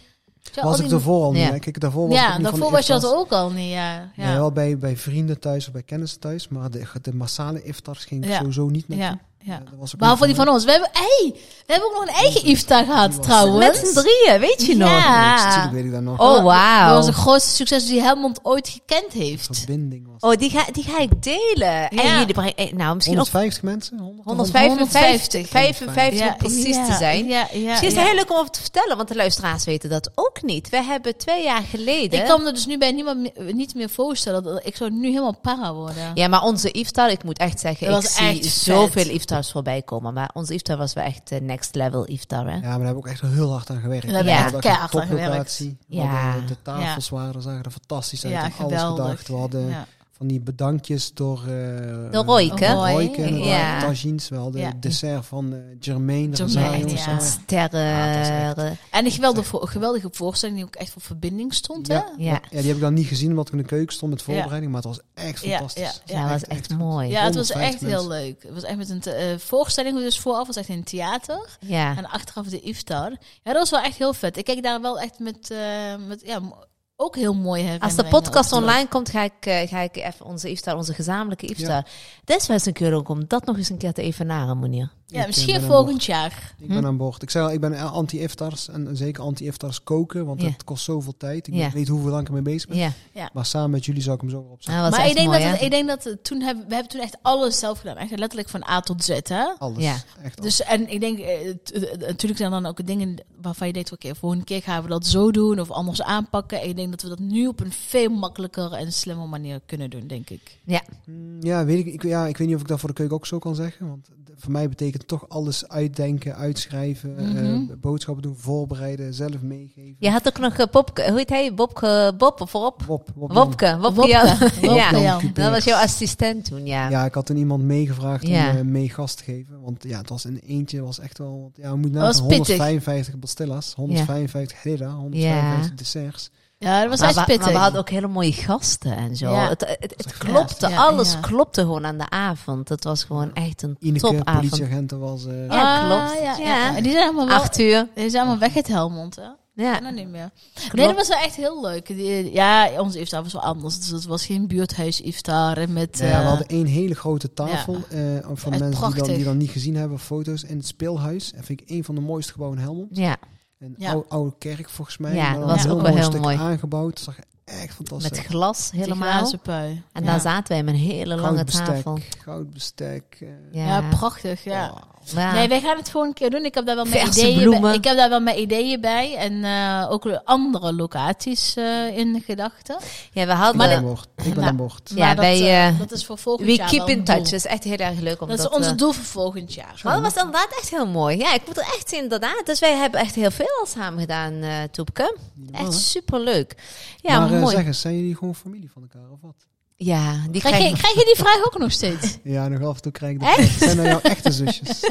Ja, al
Was
die-
ik daarvoor al niet.
Ja.
hè? Kijk, daarvoor was ik
Ja,
niet van de
daarvoor was je dat
iftars.
ook al niet, ja.
Nee,
Ja,
wel bij, bij vrienden thuis of bij kennissen thuis. Maar de, de massale iftars ging ik
Ja.
sowieso niet
ja.
naar.
ja.
Dat was ook
Behalve
niet
die van ons. We hebben, hey, we hebben ook nog een eigen iftar gehad
was-
trouwens.
Met z'n drieën, weet je nog?
Ja.
Ja, Natuurlijk weet ik dat nog.
Oh,
Dat
wauw.
was het grootste succes die Helmond ooit gekend heeft.
Verbinding was.
Oh, die ga, die ga ik delen. En
Ja.
jullie brengen... eh, Nou, misschien ook
150 mensen? 100?
155.
155.
55 om precies te zijn.
Ja, ja,
Misschien is
ja.
het heel leuk om over te vertellen, want de luisteraars weten dat ook niet. We hebben twee jaar geleden...
Ik kan me er dus nu bij niemand me- niet meer voorstellen. Dat, ik zou nu helemaal para worden.
Ja, maar onze iftar, ik moet echt zeggen,
Dat
ik
was
zie
echt vet.
zoveel iftars voorbij komen. Maar onze iftar was wel echt eh, next level iftar, hè?
Ja, maar daar heb ik ook echt heel hard aan gewerkt.
Daar heb
ik echt
We hadden
keihard aan
toplocatie. We
Ja.
hadden De tafels waren, zagen er fantastisch uit.
Ja,
en alles
geweldig.
bedacht. We hadden
Ja.
van die bedankjes door... eh
Door Royke.
door
Royke,
inderdaad.
ja.
Tagines. We hadden
Ja.
het dessert van eh Germaine. de
Germaine,
Rosario en zo.
ja.
Sterren.
En een geweldige, vo- geweldige voorstelling die ook echt voor verbinding stond.
Ja.
Hè?
ja.
Ja, die heb ik dan niet gezien omdat ik in de keuken stond met voorbereiding. Maar het was echt
Ja,
fantastisch.
ja,
Ja, dat was echt mooi.
Ja, het was echt
150
heel leuk. Het was echt met een te- eh, voorstelling, dus vooraf was echt in het theater.
Ja.
En achteraf de iftar. Ja, dat was wel echt heel vet. Ik kijk daar wel echt met, eh, met ja, mo- ook heel mooi
Als de
herinneringen
podcast
op terug.
online komt, ga ik, eh, ga ik even onze iftar, onze gezamenlijke iftar. Dat is wel eens een keer ook om dat nog eens een keer te evenaren, meneer.
Ja,
Ik, eh,
misschien
ben aan
volgend jaar.
Ik
Hm?
ben aan boord. Ik zei al, ik ben anti-iftars en zeker anti-iftars koken, want
Ja.
het kost zoveel tijd. Ik
Ja.
weet hoeveel lang ik ermee bezig ben.
Ja, nou,
Maar samen met jullie zou ik hem zo weer opzetten.
dat was
maar
echt
ik denk,
mooi,
dat
hè?
het- ik denk dat het toen hebben, we hebben toen echt alles zelf gedaan. Echt letterlijk van A tot Z, hè?
Alles.
Ah, Ja.
Echt alles.
Dus en ik denk, eh, t- eh, natuurlijk zijn er dan ook dingen waarvan je denkt, oké, volgende keer gaan we dat zo doen of anders aanpakken. En ik denk dat we dat nu op een veel makkelijker en slimmer manier kunnen doen, denk ik.
Ja,
Mm, Ja, weet ik, ik, ja, ik weet niet of ik dat voor de keuken ook zo kan zeggen. Want d- voor mij betekent toch alles uitdenken, uitschrijven,
Mhm.
eh, boodschappen doen, voorbereiden, zelf meegeven.
je had ook nog eh, Popke, hoe heet hij? Bobke, Bob voorop?
Wop, wop,
Wopke, Wopke.
Wopke,
Ja.
Wopke,
Ja,
ja.
Wopke.
dat was jouw assistent toen, ja.
Jan. Ja, ik had toen iemand meegevraagd
Ja.
om eh, mee gast te geven. Want ja, het was in eentje was echt wel... Ja, we moeten
Dat was
nagaan,
pittig.
155 Bastillas, 155 Herrera, 155 desserts.
Ja, dat was
Maar,
echt
we-
pittig.
maar we hadden ook hele mooie gasten en zo.
Ja.
Het, het, het klopte,
gaaf. Ja,
alles
ja.
klopte gewoon aan de avond. Dat was gewoon echt een
Ineke,
topavond.
politieagenten was... eh,
Ja,
Ah,
klopt.
Ja,
Ja.
ja. En die zijn allemaal wel,
Acht uur.
die zijn allemaal weg het Helmond, hè?
Ja,
Nou, niet meer. Nee,
klopt.
dat was wel echt heel leuk. Die- Ja, onze iftar was wel anders. Dus dat was geen buurthuis iftar en met...
Nou ja, we
eh,
hadden één hele grote tafel eh, van
Echt
mensen die
prachtig.
dan, die dan niet gezien hebben, foto's in het speelhuis. En vind ik een van de mooiste gebouwen in Helmond.
ja.
Een
Ja.
oude, oude kerk volgens mij.
Ja, dat
maar dan
was
een
ook wel
mooi
heel
stuk
mooi.
aangebouwd. Zag echt fantastisch.
Met glas
Helemaal.
helemaal.
pui.
En
ja.
daar zaten wij met een hele lange
bestek,
tafel.
Goud bestek. eh,
Ja,
Ja, prachtig, ja.
wauw.
Ja.
Nee, wij gaan het gewoon een keer doen. Ik heb daar wel mijn
Verse
ideeën
bloemen.
bij. Ik heb daar wel mijn ideeën bij. En eh, ook andere locaties eh, in de gedachten.
ja, we hadden...
Ik ben aan boord. Ik ben
Nou,
aan boord.
Ja,
Maar dat,
wij,
eh,
eh,
dat is voor volgend
we
jaar
keep
wel
in
een
touch.
doel.
Dat is echt heel erg leuk. Omdat
Dat is ons
we-
doel voor volgend jaar.
Maar dat was inderdaad echt heel mooi. Ja, ik moet er echt inderdaad. Dus wij hebben echt heel veel samen gedaan, eh Toepke.
Niet normaal,
Echt
hè?
superleuk. Ja,
maar eh,
mooi.
zeg eens, zijn jullie gewoon familie van elkaar of wat?
Ja, die
Krijg je,
krijgen...
krijg je die vraag ook nog steeds?
Ja, nog af en toe krijg ik dat. Zijn dat jouw echte zusjes?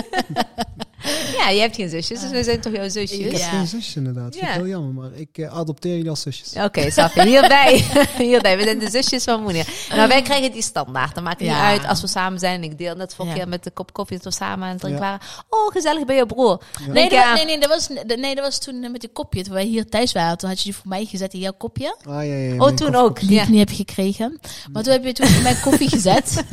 Ja, je hebt geen zusjes, dus we zijn toch jouw zusjes?
Ik heb
Ja.
geen zusjes inderdaad. Vind ik
Ja.
heel jammer, maar ik eh, adopteer jullie als zusjes.
Oké, Safi, hierbij. hierbij. We zijn de zusjes van moeder. Nou, wij krijgen die standaard. Dat maakt niet
Ja.
uit als we samen zijn. Ik deel net vorige
Ja.
keer met de kop koffie dat we samen aan het drinken
Ja.
waren. Oh, gezellig bij je broer.
Nee,
Ik,
dat,
eh,
was- nee, nee, dat was, nee, dat was toen eh, met die kopje. Toen wij hier thuis waren, toen had je die voor mij gezet in jouw kopje.
Ah, ja, ja, ja,
Oh,
mijn
toen
kop-
ook.
Die
Ja.
ik niet heb gekregen. Maar toen heb je toen voor mij koffie gezet.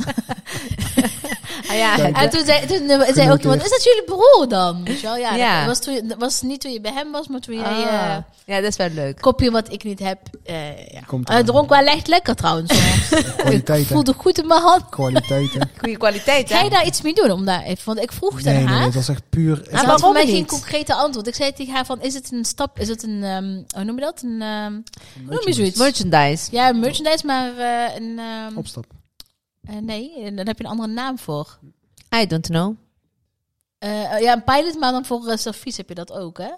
Ah, ja.
Kijk.
En toen zei, toen eh, zei ook
Genoteerd.
iemand, is dat jullie broer dan? Weet je wel? Ja,
Ja.
Dat, was toen, dat was niet toen je bij hem was, maar toen jij
Ah.
eh,
ja, dat is wel leuk.
kopje wat ik niet heb. eh ja.
Komt
Eh,
er-
dronk wel echt lekker trouwens. hoor. ik
Kwaliteiten.
voelde goed in mijn hand.
Kwaliteiten.
Goede kwaliteit,
Ga
hè?
je daar iets mee doen? Om daar even, want ik vroeg het
Nee, nee,
aan haar.
nee, dat is echt puur...
Ja,
Ze
maar
had voor
waarom
mij geen
niet?
concrete antwoord. Ik zei tegen haar van, is het een stap, is het een, ehm, hoe noem je dat? Een, ehm, hoe noem je
Merchandise.
zoiets?
Merchandise.
Ja, merchandise, maar eh, een, ehm,
Opstap.
eh, nee, daar heb je een andere naam voor.
I don't know.
Eh, ja, een pilot, maar dan voor eh, servies heb je dat ook, hè?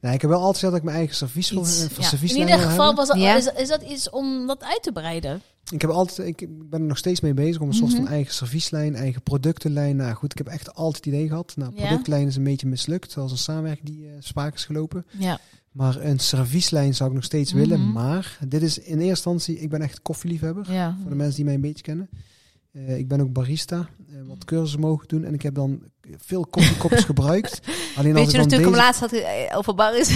Nee, ik heb wel altijd gezegd dat ik mijn eigen servies wil,
Iets,
eh,
ja.
servieslijn
In ieder
wil
geval
hebben.
was dat,
Ja.
is, is dat iets om dat uit te breiden.
Ik, heb altijd, ik ik ben er nog steeds mee bezig om een soort van
Mhm.
eigen servieslijn, eigen productenlijn. Nou goed, ik heb echt altijd het idee gehad. Nou,
Ja.
productlijn is een beetje mislukt. Dat was een samenwerking die eh spaak is gelopen.
Ja.
Maar een servieslijn zou ik nog steeds
Mhm.
willen. Maar dit is in eerste instantie, ik ben echt koffieliefhebber.
ja.
Mhm.
Voor de mensen die mij een beetje kennen. Eh, ik ben ook barista, eh,
Mhm.
wat cursussen mogen doen. En ik heb dan veel koffiekopjes gebruikt. Alleen
Weet
als
je
ik
nog toen
dan
ik hem
deze,
laatst had eh, over Barry's?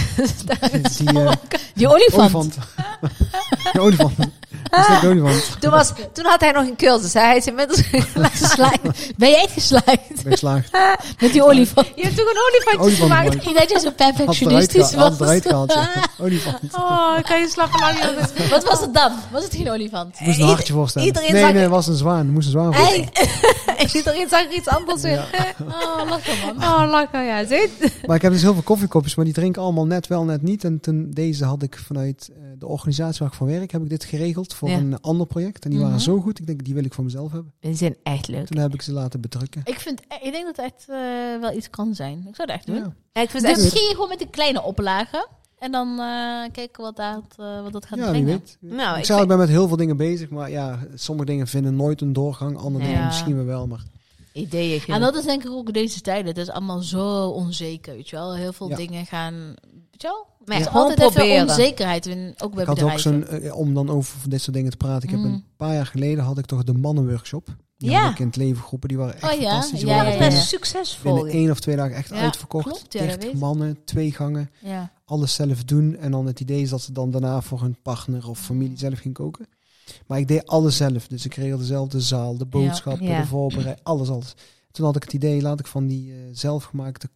die eh,
Die olifant.
olifant. de olifant. Dat is de olifant.
Toen, was, toen had hij nog een cursus. Hè? Hij is inmiddels
Geslaagd. Ben jij het geslaagd
Ik ben geslaagd.
met die olifant?
Je hebt toch een olifantje
Olifant
gemaakt?
gemaakt.
Ik denk dat je zo
Had het eruit
perfectionistisch
gehaald, had
was.
het eruit gehaald, ja. Olifant. Ik
Oh, ik kan je slappen lang jongens.
Wat was het dan? Was het geen olifant?
moest een
Ieder-
hartje voorstellen.
iedereen
nee,
zag-
nee, het was een zwaan. Het moest een zwaan worden.
Ik zit erin, zag er iets anders in.
Oh, lachen man.
Oh, lachen, ja. Zit.
Maar ik heb dus heel veel koffiekopjes, maar die drinken allemaal net wel, net niet. En toen deze had ik vanuit eh, de organisatie waar ik van werk, heb ik dit geregeld voor
Ja.
een ander project. En die waren
Mhm.
zo goed, ik denk, die wil ik voor mezelf hebben.
Die zijn echt leuk.
Toen heb ik ze laten bedrukken.
Ik, vind, ik denk dat het echt eh, wel iets kan zijn. Ik zou dat echt doen.
Ja,
Ja, ik vind het
Dus
echt
misschien gewoon met een kleine oplage. En dan eh, kijken wat dat, eh, wat dat gaat
ja wie
brengen.
weet.
Nou,
ik
ik
zei,
vind-
ik ben met heel veel dingen bezig, maar ja, sommige dingen vinden nooit een doorgang. Andere
Ja.
dingen misschien wel wel, maar
ideeën.
En dat is denk ik ook deze tijden. Het is allemaal zo onzeker, weet je wel. Heel veel
Ja.
dingen gaan, weet je wel.
Maar
Het is
gewoon
altijd even
proberen.
onzekerheid, in, ook bij
ik had ook
bedrijven.
zo'n, eh, om dan over dit soort dingen te praten. Ik heb
Mm.
een paar jaar geleden had ik toch de mannenworkshop. Die
Ja.
had ik in het leven geroepen, die waren echt
Oh ja,
fantastisch. Die
ja,
waren
ja, ja.
best
binnen-
succesvol.
Binnen één of twee dagen echt
Ja,
uitverkocht.
klopt, ja, dat
30
weet ik.
mannen, twee gangen.
ja.
alles zelf doen. En dan het idee is dat ze dan daarna voor hun partner of familie zelf ging koken. Maar ik deed alles zelf. Dus ik regelde zelf de zaal, de boodschappen,
Ja.
de voorbereiding, alles, alles. Toen had ik het idee, laat ik van die eh, zelfgemaakte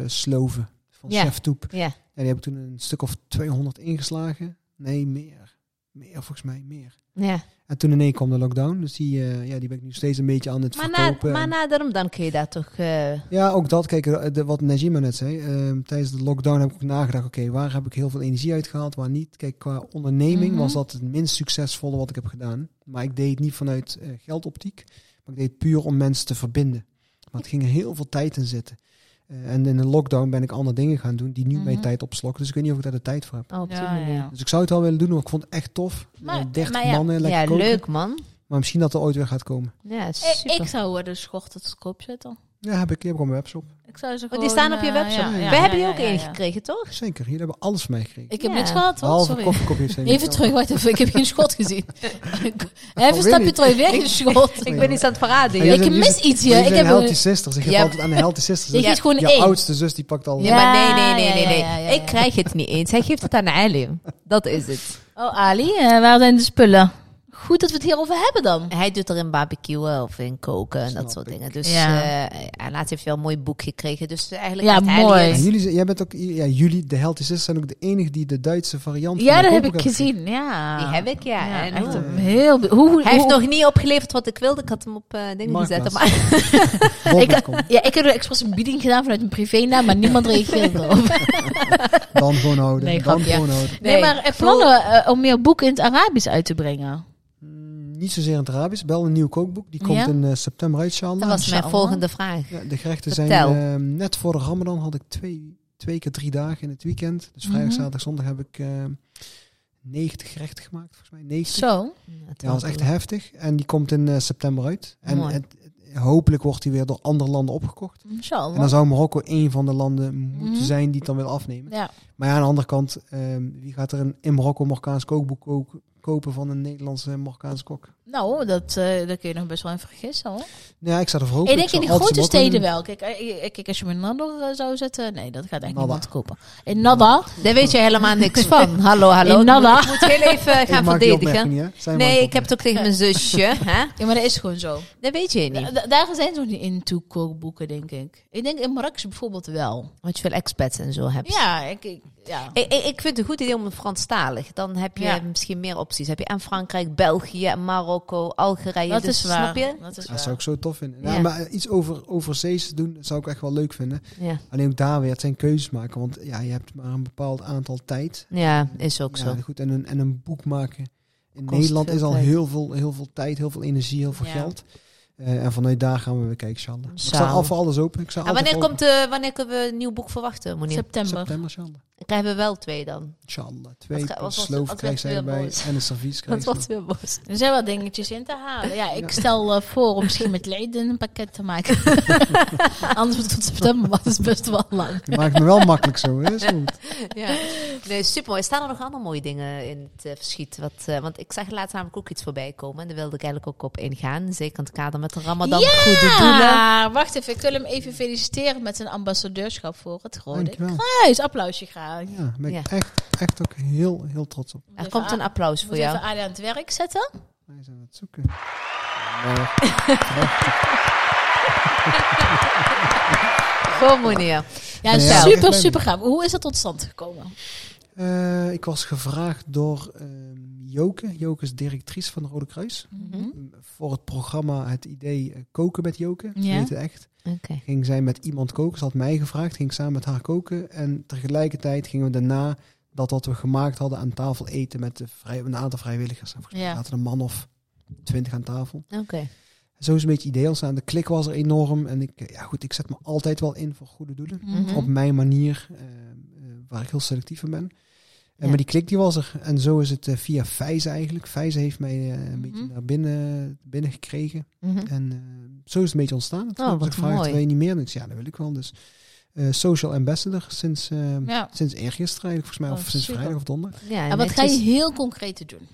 kokssloven van
Ja.
Chef Toep.
Ja.
En die heb ik toen een stuk of 200 ingeslagen. Nee, meer. Meer volgens mij, meer.
Ja.
En toen in één kwam de lockdown. Dus die, eh, ja, die ben ik nu steeds een beetje aan het
Maar, na,
verkopen.
maar
En-
na daarom dan kun je daar toch... eh,
ja, ook dat. Kijk, eh, de- wat Najima net zei. ehm, tijdens de lockdown heb ik ook nagedacht. Oké, waar heb ik heel veel energie uitgehaald, waar niet? Kijk, qua onderneming
Mhm.
was dat het minst succesvolle wat ik heb gedaan. Maar ik deed het niet vanuit eh, geldoptiek. Maar ik deed het puur om mensen te verbinden. Maar het ging er heel veel tijd in zitten. Eh, en in de lockdown ben ik andere dingen gaan doen die nu mijn
Mhm.
tijd opslokken. Dus ik weet niet of ik daar de tijd voor heb.
oh, op die
Ja,
manier.
ja.
Dus ik zou het wel willen doen, want ik vond het echt tof.
Maar-
Eh, 30
maar ja,
mannen, lekker
Ja,
koken.
leuk man.
Maar misschien dat er ooit weer gaat komen.
Ja,
Ik,
super.
ik zou er dus kort het kop zetten.
Ja, heb ik, die heb ik op mijn webshop.
Ik zou ze
Oh,
gewoon,
die staan op je
eh,
webshop.
ja, ja,
We
ja,
hebben je
ja,
ook
ja,
één
ja.
gekregen, toch?
Zeker, jullie hebben alles van mij gekregen.
Ik heb
Ja.
niks gehad, hoor.
Behalve
Sorry.
koffiekopjes. en
Even
niet
terug, wacht even. Ik heb geen schot gezien. even een
Alweer
stapje
niet.
terug, weer geen schot.
Ik ben iets aan het verraden.
Ja,
hier.
jullie
Ik
zijn-
mis iets
Ja,
hier. Ik heb
healthy
een...
sisters. Ik geef
Ja.
altijd aan de healthy sisters.
Je
Ja.
geeft gewoon
Je
één.
oudste zus die pakt al.
Ja, maar nee, nee, nee,
Ja,
nee. nee.
ja, ja, ja,
Ik
ja.
krijg het niet eens. Hij geeft het aan Ali. Dat is het.
Oh, Ali, eh, waar zijn de spullen? goed dat we het hierover hebben dan.
Hij doet er in barbecuen of in koken en
Snap
dat soort
ik.
dingen. Dus
Ja.
ja. en laatst heeft hij wel een mooi boek gekregen. Dus eh, eigenlijk
Ja,
heeft hij
mooi.
die-
En jullie, zijn- jij bent ook, ja, jullie, de Healthy Sisters, zijn ook de enige die de Duitse variant van
Ja,
de
dat heb
kookboek
ik
hebben
gezien. Ja.
Die heb ik, ja. En
echt
hoe-
een heel... be- Hoe, hoe,
Hij heeft
hoe-
nog niet opgeleverd wat ik wilde. Ik had hem op eh dingen
Marktplaats.
gezet. Maar
Bol.com.
Ja, ik heb er expres een bieding gedaan vanuit een privénaam, maar niemand reageerde erop.
Dan gewoon houden.
Nee,
dan
grapje.
gewoon houden.
Nee, maar eh, plannen eh, om meer boeken in het Arabisch uit te brengen.
Mm, Niet zozeer in het Arabisch, wel een nieuw kookboek. Die komt
Ja? Oh.
in eh, september uit, Shalom.
Dat was mijn
Inshallah.
volgende vraag.
Ja, de gerechten
Vertel.
zijn eh, net voor de Ramadan had ik twee, twee keer drie dagen in het weekend. Dus vrijdag,
Mhm.
zaterdag, zondag heb ik eh 90 gerechten gemaakt, volgens mij. 90.
Zo.
Ja, dat was echt heftig. En die komt in eh, september uit. En
Mooi.
het- het- hopelijk wordt die weer door andere landen opgekocht. En dan
Inshallah.
zou Marokko één van de landen moeten
Mhm.
zijn die het dan wil afnemen.
Ja.
Maar ja, aan de andere kant, ehm, wie gaat er een in Marokko Marokkaans kookboek ko- kopen van een Nederlandse Marokkaanse kok?
Nou, dat, eh daar kun je nog best wel in vergissen hoor.
Nou ja, ik sta er voor open.
ik denk in
zou
de
altijd
grote
Marokko
steden
doen.
wel. Kijk, eh, eh, kijk, als je me in Nador eh, zou zetten, nee, dat gaat eigenlijk
Nada.
niemand kopen. In Nada?
Daar weet je helemaal niks van. Hallo, hallo.
In
Ik moet-
Nalla.
Ik moet heel even eh, gaan
Ik maak die
verdedigen.
opmerking, hè? Zij maakt
Nee, ik
opmerking.
heb het ook tegen mijn zusje. Hè?
Ja, maar dat is gewoon zo.
Dat weet je niet.
Da- daar zijn ze nog niet in toe kookboeken, denk ik. Ik denk in Marrakesh bijvoorbeeld wel.
Want je veel expats en zo hebt.
Ja, ik, ik- ja.
Ik, ik, ik vind het een goed idee om een Franstalig. Dan heb je
Ja.
misschien meer opties. Heb je aan Frankrijk, België, en Marokko, Algerije.
dat
dus,
is waar.
Snap je?
Dat is
Dat
waar.
zou ik zo tof vinden. Ja,
Ja.
maar iets over, overzees doen, dat zou ik echt wel leuk vinden.
Ja,
Alleen ook daar weer, het zijn keuzes maken. Want ja, je hebt maar een bepaald aantal tijd.
ja is ook
Ja,
zo.
goed, en, een, en een boek maken. In
Kost
Nederland
veel
is al
tijd.
heel veel, heel veel tijd, heel veel energie, heel veel
Ja.
geld. Eh, en vanuit daar gaan we weer kijken, Sjanda. Ik sta
Sjanda.
al voor alles open. Ik sta
En
altijd
wanneer,
open.
komt, eh, wanneer kunnen we een nieuw boek verwachten, Monier?
September.
September, Sjanda.
Krijgen we wel twee dan?
Inshallah. Twee
Wat ga- wat wordt-
sloof
wat
krijg
werd
zij
weer
erbij
boos?
en een servies
Dat
krijg
was weer boos.
Er zijn wel dingetjes in te halen. Ja, ik
Ja.
stel eh, voor om misschien met Leiden een pakket te maken. Anders wordt het tot september, maar dat is best wel lang.
Je maakt me wel makkelijk zo, hè? Is goed.
Ja. Nee, super mooi. Staan er nog andere mooie dingen in het eh, verschiet? Wat, eh, want ik zag laatst namelijk ook iets voorbij komen. En daar wilde ik eigenlijk ook op ingaan. Zeker in het kader met de Ramadan. Goede doelen.
Ja, wacht even. Ik wil hem even feliciteren met zijn ambassadeurschap voor het Rode
Dankjewel.
Kruis. Applausje graag.
Ja, daar ben ik
Ja.
echt, echt ook heel, heel trots op.
Er komt een applaus
Ik
voor
moet
jou.
even Ali aan het werk zetten.
Wij zijn aan het zoeken. Maar
Gewoon, Monier.
Ja,
Ja, ik
super,
ben-
super gaaf. Hoe is dat tot stand gekomen?
Eh, ik was gevraagd door ehm, Joke. Joke is directrice van de Rode Kruis.
Mhm.
M- Voor het programma het idee eh, koken met Joke. Ze
Ja.
heet het echt.
Oké.
Ging zij met iemand koken. Ze had mij gevraagd. Ging ik samen met haar koken. En tegelijkertijd gingen we daarna dat wat we gemaakt hadden aan tafel eten met de vrij, een aantal vrijwilligers. En volgens mij
Ja.
zaten een man of twintig aan tafel.
Oké.
Zo is een beetje het idee ontstaan. De klik was er enorm. En ik, eh, ja goed, ik zet me altijd wel in voor goede doelen
Mhm.
op mijn manier, eh, eh, waar ik heel selectief in ben.
Ja.
En Maar die klik die was er. En zo is het eh, via Fijze eigenlijk. Fijze heeft mij eh, een
Mhm.
beetje naar binnen, binnen gekregen.
Mhm.
En eh, zo is het een beetje
Oh,
ontstaan. Toen heb ik
wat
gevraagd,
mooi.
wil je niet meer? En ik zei, ja, dat wil ik wel. Dus eh, social ambassador sinds, eh
Ja.
sinds eergisteren eigenlijk, volgens mij.
Oh,
Of sinds
super.
vrijdag of donderdag.
Ja,
En wat ga je
netjes.
heel concreet doen?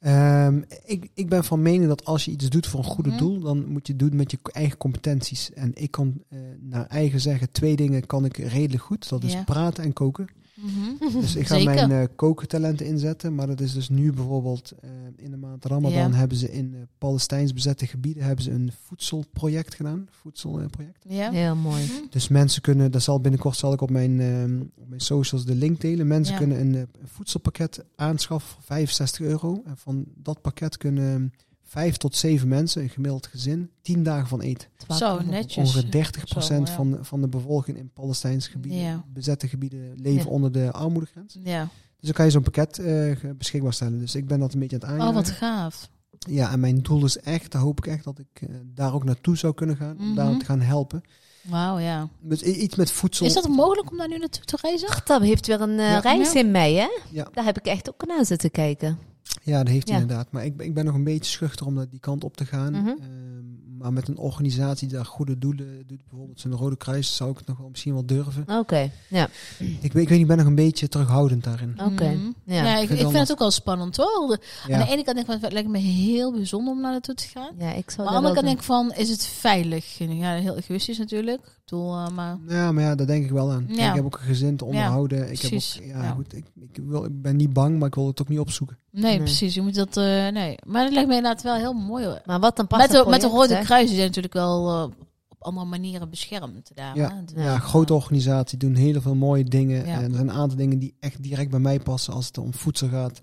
Ehm, ik, ik ben van mening dat als je iets doet voor een goede
Mhm.
doel, dan moet je het doen met je eigen competenties. En ik kan eh, naar eigen zeggen, twee dingen kan ik redelijk goed. Dat is
Ja.
praten en koken.
Mhm.
Dus ik ga
Zeker.
mijn eh kokentalenten inzetten. Maar dat is dus nu bijvoorbeeld eh, in de maand Ramadan
Ja.
hebben ze in eh, Palestijns bezette gebieden hebben ze een voedselproject gedaan. Voedselproject.
Ja.
Heel mooi.
Mhm.
Dus mensen kunnen, dat zal binnenkort zal ik op mijn, ehm, op mijn socials de link delen. Mensen
Ja.
kunnen een, eh, een voedselpakket aanschaffen voor 65 euro. En van dat pakket kunnen vijf tot zeven mensen, een gemiddeld gezin, tien dagen van eten.
Zo,
Wakker.
netjes.
Ongeveer 30%
Zo, ja.
van, van de bevolking in Palestijns gebieden,
Ja.
bezette gebieden, leven
Ja.
onder de armoedegrens.
Ja.
Dus dan kan je zo'n pakket eh, ge- beschikbaar stellen. Dus ik ben dat een beetje aan het
Oh,
aanjagen.
wat gaaf.
Ja, en mijn doel is echt, daar hoop ik echt dat ik eh, daar ook naartoe zou kunnen gaan. Om daar
Mhm.
te gaan helpen.
Wauw, ja.
Dus i- iets met voedsel.
Is dat mogelijk om daar nu naartoe te reizen?
Tab heeft weer een eh,
Ja.
reis in mei, hè?
Ja.
Daar heb ik echt ook naar zitten kijken.
Ja, dat heeft hij
Ja.
inderdaad. Maar ik, ben- ik ben nog een beetje schuchter om dat die kant op te gaan.
Mhm.
Ehm, Maar met een organisatie die daar goede doelen doet, bijvoorbeeld zo'n Rode Kruis, zou ik het nog wel misschien wel durven.
Oké, ja.
Ik, weet- ik weet niet, ik ben nog een beetje terughoudend daarin.
Oké,
Mhm.
ja.
Ja,
Ik
ik,
vind
ik vind
allemaal-
het ook wel spannend hoor. De- Aan
Ja.
de ene kant denk ik, van, het lijkt me heel bijzonder om naar naartoe te gaan.
Ja, ik
Maar
zou
aan de
dat
andere
wel
kant
doen.
denk ik van, is het veilig? Ja, heel egoïstisch natuurlijk. Ik bedoel, eh, maar...
ja, maar ja, daar denk ik wel aan. Kijk,
Ja.
Ik heb ook een gezin te onderhouden. ik, heb ook,
precies.
ja,
Ja.
Goed, ik, ik, wil, ik ben niet bang, maar ik wil het ook niet opzoeken.
Nee,
Nee.
precies. Je moet dat... eh, nee. Maar dat lijkt me inderdaad wel heel mooi hoor.
Maar wat een
Met
prachtig
de, met de
project,
Rode
hè?
Kruis die zijn natuurlijk wel eh, op andere manieren beschermd daar.
Ja.
hè. Dus,
Ja,
Ja,
eh,
grote organisatie, doen heel veel mooie dingen.
Ja.
En er zijn een aantal dingen die echt direct bij mij passen als het om voedsel gaat.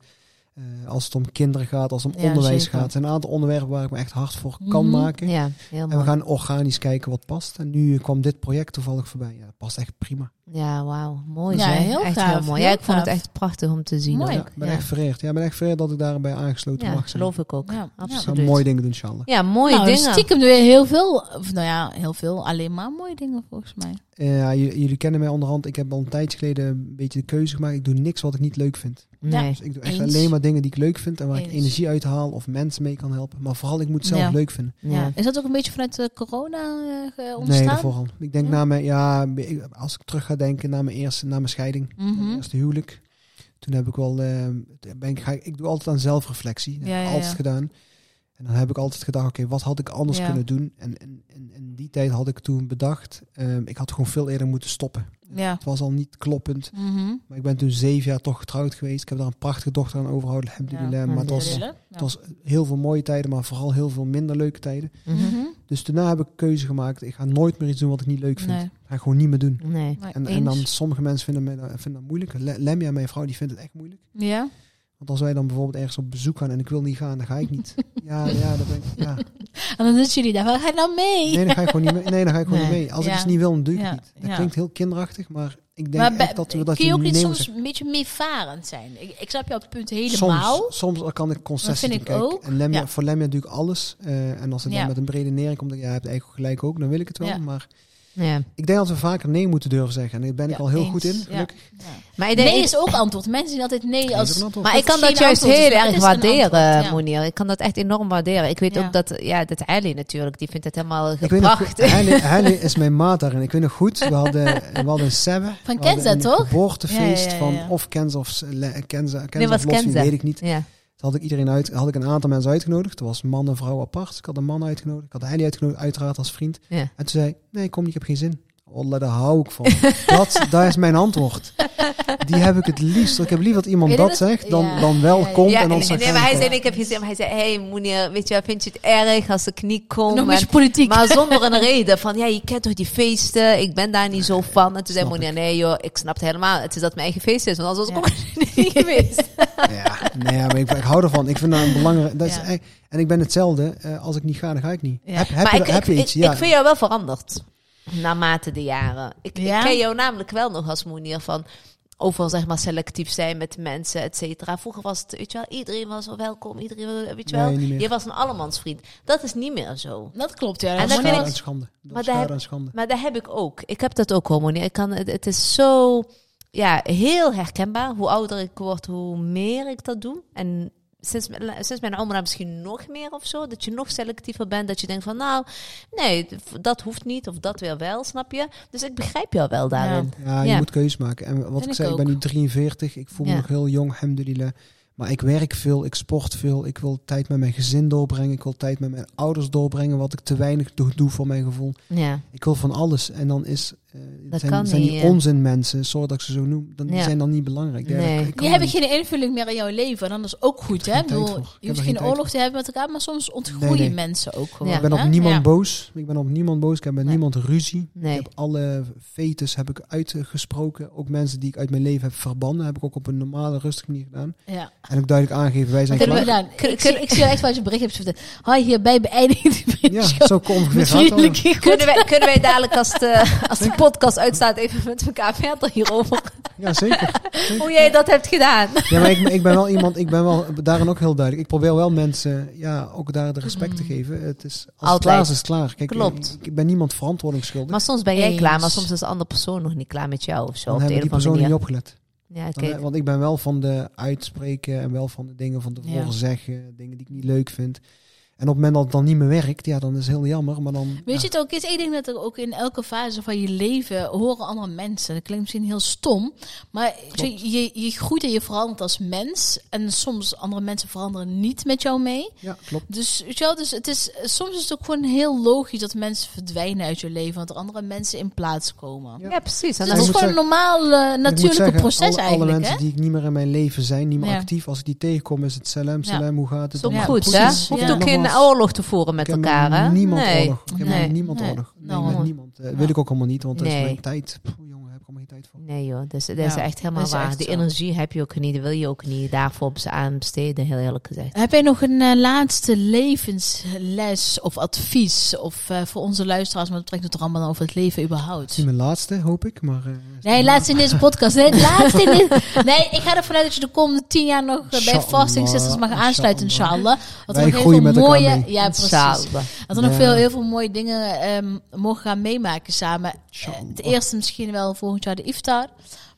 eh, als het om kinderen gaat, als het om
Ja,
onderwijs
zeker.
gaat. Er zijn een aantal onderwerpen waar ik me echt hard voor kan
Mhm.
maken.
Ja, heel
En we
mooi.
gaan organisch kijken wat past. En nu kwam dit project toevallig voorbij. Ja, dat past echt prima.
Ja, wauw. Mooi
Ja,
zeg.
heel
echt
gaaf,
heel mooi. ja,
heel
ik vond het
gaaf.
echt prachtig om te zien.
Mooi.
ook.
Ja, ik ben
ja.
echt vereerd. Ja, ik ben echt vereerd dat ik daarbij aangesloten
Ja,
mag zijn.
geloof ik ook.
Ja, ja.
we
absoluut.
gaan mooie dingen doen, Charlotte.
Ja, mooie
nou,
dingen.
stiekem weer heel veel. Of, nou ja, heel veel. Alleen maar mooie dingen volgens mij.
Eh, ja, j- jullie kennen mij onderhand. Ik heb al een tijdje geleden een beetje de keuze gemaakt. Ik doe niks wat ik niet leuk vind.
Nee.
Dus ik doe echt
Eens.
alleen maar dingen die ik leuk vind en waar ik
Eens.
energie uit haal of mensen mee kan helpen. Maar vooral, ik moet het zelf
Ja.
leuk vinden.
Ja.
Is dat ook een beetje vanuit eh, corona eh, ge-
Nee,
ontstaan?
daarvoor al. Ik denk
Ja.
na mijn, ja, ik- als ik terug ga denken na mijn eerste, na mijn scheiding, na mijn
Mhm.
eerste huwelijk. Toen heb ik wel, eh, toen ben ik, ga, ik ik doe altijd aan zelfreflectie. Dat
Ja,
heb ik
ja,
altijd
ja.
gedaan. En dan heb ik altijd gedacht, oké, wat had ik anders
Ja.
kunnen doen? En in, in, in die tijd had ik toen bedacht, ehm, ik had gewoon veel eerder moeten stoppen.
Ja.
Het was al niet kloppend.
Mhm.
Maar ik ben toen zeven jaar toch getrouwd geweest. Ik heb daar een prachtige dochter aan overhouden, alhamdulillah. maar het was,
alhamdulillah.
Ja.
het was heel veel mooie tijden, maar vooral heel veel minder leuke tijden.
Mhm.
Mhm.
Dus daarna heb ik een keuze gemaakt. Ik ga nooit meer iets doen wat ik niet leuk vind.
Nee.
Ga ik gewoon niet meer doen.
Nee.
maar
En, en dan
eens.
sommige mensen vinden, mij, dat- vinden dat moeilijk. Le- Lemia, mijn vrouw, die vindt het echt moeilijk.
Ja.
Want als wij dan bijvoorbeeld ergens op bezoek gaan en ik wil niet gaan, dan ga ik niet. Ja, ja, dan ben ik, ja.
En dan zitten jullie daar. wel, Ga je nou mee?
Nee, dan ga ik gewoon niet mee. Nee, dan ga ik gewoon
Nee.
niet mee. Als ik
Ja.
iets niet wil, dan doe ik het
Ja.
niet. Dat
Ja.
klinkt heel kinderachtig, maar ik denk
maar
echt
be-
dat we dat
kun je ook niet
nee
soms
moeten
een beetje meevarend zijn? Ik, ik snap jouw punt
zeggen.
helemaal.
Soms, soms kan ik concessies
Dat vind
doen.
ik
Kijk,
ook.
En Lemia,
Ja.
voor Lemia doe ik alles. Eh, en als het
Ja.
dan met een brede nering komt, dan, ja, je hebt eigenlijk gelijk ook, dan wil ik het wel.
Ja.
Maar
Ja.
ik denk dat we vaker nee moeten durven zeggen. En daar ben ik
Ja,
al heel
eens.
goed in,
Ja.
gelukkig.
Ja.
Maar ik denk,
Nee is ook antwoord. Mensen zien altijd nee
Dat is
als...
ook een antwoord.
Maar ik
Dat
kan
is
dat
geen
juist
antwoord,
heel
dus dat
erg
is een
waarderen,
antwoord, ja.
Monier. Ik kan dat echt enorm waarderen. Ik weet
Ja.
ook dat, ja, dat Ali natuurlijk, die vindt het helemaal
Ik weet nog goed,
gebracht.
Helle, Helle is mijn maat daarin. Ik weet nog goed, we hadden, we hadden een sebbe.
Van
we hadden
Kenza,
een
toch?
geboortefeest
Ja, ja, ja, ja.
van of Kenza of s- le- Kenza, Kenza
Nee, was
of Lotfi,
Kenza.
weet ik niet.
Ja.
Toen had ik, iedereen uit, had ik een aantal mensen uitgenodigd. Er was man en vrouw apart. Ik had een man uitgenodigd. Ik had Helle uitgenodigd, uiteraard als vriend.
Ja.
En toen zei hij, nee kom niet, ik heb geen zin. Olle, daar hou ik van. dat, dat is mijn antwoord. Die heb ik het liefst. Ik heb liever dat iemand
Weet je
dat
dat-
zegt dan,
Ja.
dan wel
Ja, ja,
komt
Ja,
en
en,
dan
en,
zegt
nee, maar hij zei,
hij-
ik heb gezien, maar hij zei, hey Monier, weet je, wel, vind je het erg als ik niet kom?
Nog een
En-
beetje politiek.
Maar zonder een reden. Van ja, je kent toch die feesten. Ik ben daar niet zo van. En toen zei
snap
Monia, nee joh, ik snap het helemaal. Het is dat mijn eigen feest is. Want anders was ik ook niet geweest.
Ja, nee, maar ik, ik hou ervan. Ik vind dat een belangrijk. Dat is,
Ja.
eh, En ik ben hetzelfde. Eh, als ik niet ga, dan ga ik niet.
Ja.
Heb, heb
maar
je,
ik,
heb je
ik,
iets?
ik-
ja.
ik vind jou wel veranderd. Naarmate de jaren. Ik,
Ja?
ik ken jou namelijk wel nog als Moenier van overal zeg maar selectief zijn met mensen, et cetera. Vroeger was het, weet je wel, iedereen was wel welkom. Iedereen, weet je wel.
Nee, niet meer.
je was een allemansvriend. Dat is niet meer zo.
Dat klopt, ja.
En
Dat
dan
dat
vind
is
schade
wel-
ik-
en schande. Dat
Maar
is
daar
schade
heb-
en schande.
Maar dat heb ik ook. Ik heb dat ook hoor, Monier. Ik kan, het, het is zo ja, heel herkenbaar. Hoe ouder ik word, hoe meer ik dat doe. En sinds, mijn- sinds mijn oma misschien nog meer of zo. Dat je nog selectiever bent. Dat je denkt van nou, nee, dat hoeft niet. Of dat weer wel, snap je? Dus ik begrijp jou wel daarin.
Ja, je
Ja.
moet keus maken. En wat
Vind
ik
ik
zei, ik ben nu
ook.
43. Ik voel me
Ja.
nog heel jong, alhamdulillah. Maar ik werk veel, ik sport veel. Ik wil tijd met mijn gezin doorbrengen. Ik wil tijd met mijn ouders doorbrengen. Wat ik te weinig doe, doe voor mijn gevoel.
Ja.
Ik wil van alles. En dan is, eh,
Dat
zijn,
kan
zijn
niet,
die
eh.
onzin mensen, sorry dat ik ze zo noem, dan, die
Ja.
zijn dan niet belangrijk. Ja,
Nee.
ik- ik kan
Je hebt
niet.
geen invulling meer in jouw leven. En dat is ook goed, hè? Ik
geen tijd
bedoel,
voor. Ik
je
heb
hoeft
er
geen
geen tijd
oorlog te hebben met elkaar, maar soms ontgroeien
Nee, nee.
mensen ook gewoon.
Ja.
Ik ben op
hè?
niemand
Ja.
boos. Ik ben op niemand boos. Ik heb met
Nee.
niemand ruzie.
Nee.
Ik heb alle fetes heb ik uitgesproken. Ook mensen die ik uit mijn leven heb verbannen, heb ik ook op een normale, rustige manier gedaan.
Ja.
En ook duidelijk aangegeven, wij zijn
Kunnen we
klaar.
gedaan? Ik zie- ik zie echt wel eens een bericht hebt verteld. Hoi, hierbij beëindigen die
Ja,
vriendschap.
zo kom ik weer
Met
gaan.
vriendelijke groet.
Kunnen, wij, kunnen wij dadelijk als de, als de podcast uitstaat even met elkaar verder hierover?
Ja, zeker.
Hoe jij dat hebt gedaan.
Ja, maar ik, ik ben wel iemand, ik ben wel daarin ook heel duidelijk. Ik probeer wel mensen, ja, ook daar de respect te geven. Het is, als het
Mhm. Altijd.
klaar is, is het klaar. Kijk,
Klopt.
Ik, ik ben niemand verantwoording schuldig.
Maar soms ben jij
Eens.
klaar, maar soms is de andere persoon nog niet klaar met jou of zo.
dan
op de
hebben
een
die
of andere
personen niet
manier.
opgelet.
Ja,
Dan, eh,
kijk.
want ik ben wel van de uitspreken en wel van de dingen van tevoren
Ja.
zeggen, dingen die ik niet leuk vind. En op het moment dat het dan niet meer werkt, ja, dan is het heel jammer. Maar dan,
Weet
ja.
je het ook is? Ik denk dat er ook in elke fase van je leven horen andere mensen. Dat klinkt misschien heel stom, maar
Klopt.
je, je groeit en je verandert als mens. En soms andere mensen veranderen niet met jou mee.
Ja, klopt.
Dus, weet je wel, dus het is, soms is het ook gewoon heel logisch dat mensen verdwijnen uit je leven. Want er andere mensen in plaats komen.
Ja.
Ja, precies. En
Dus
dan
het
dat is
is
moet
gewoon een
zeggen-
normaal, eh,
Ik moet
natuurlijk
zeggen,
proces
alle,
eigenlijk.
Alle
hè?
mensen die ik niet meer in mijn leven zijn, niet meer
Ja.
actief. Als ik die tegenkom, is het salam,
Ja.
salam, hoe gaat het?
ook
Ja,
goed, hè?
precies.
Hoeft
Ja.
ook geen
oude
oorlog te voeren met elkaar, hè?
niemand
nee.
oorlog. Ik heb
Nee.
met niemand
Nee.
oorlog. Nee,
Daarom.
met niemand. Eh, wil
Ja.
ik ook allemaal niet, want dat
Nee.
is mijn tijd. Pff, jongen, heb ik allemaal geen tijd voor.
Nee joh, dus, dat is
Ja,
echt helemaal
dat is
waar.
echt
die
zo.
energie heb je ook niet, die wil je ook niet daarvoor op ze aan besteden, heel eerlijk gezegd.
Heb jij nog een eh, laatste levensles of advies? Of eh, voor onze luisteraars met betrekking tot Ramadan over het leven
Het is
überhaupt?
niet mijn laatste, hoop ik. Maar, eh,
Nee, laatste in deze podcast. Nee, laatste in dit- nee ik ga ervan uit dat je de komende tien jaar nog eh, bij
Inshallah,
Fasting Sisters mag aansluiten,
inshallah.
inshallah. Dat
Wij
nog heel
groeien
veel
met elkaar
mooie,
mee.
Ja, precies.
Inshallah.
Dat we nog
Ja.
veel, heel veel mooie dingen ehm, mogen gaan meemaken samen. Eh,
Inshallah.
Het eerste misschien wel volgend jaar de iftar.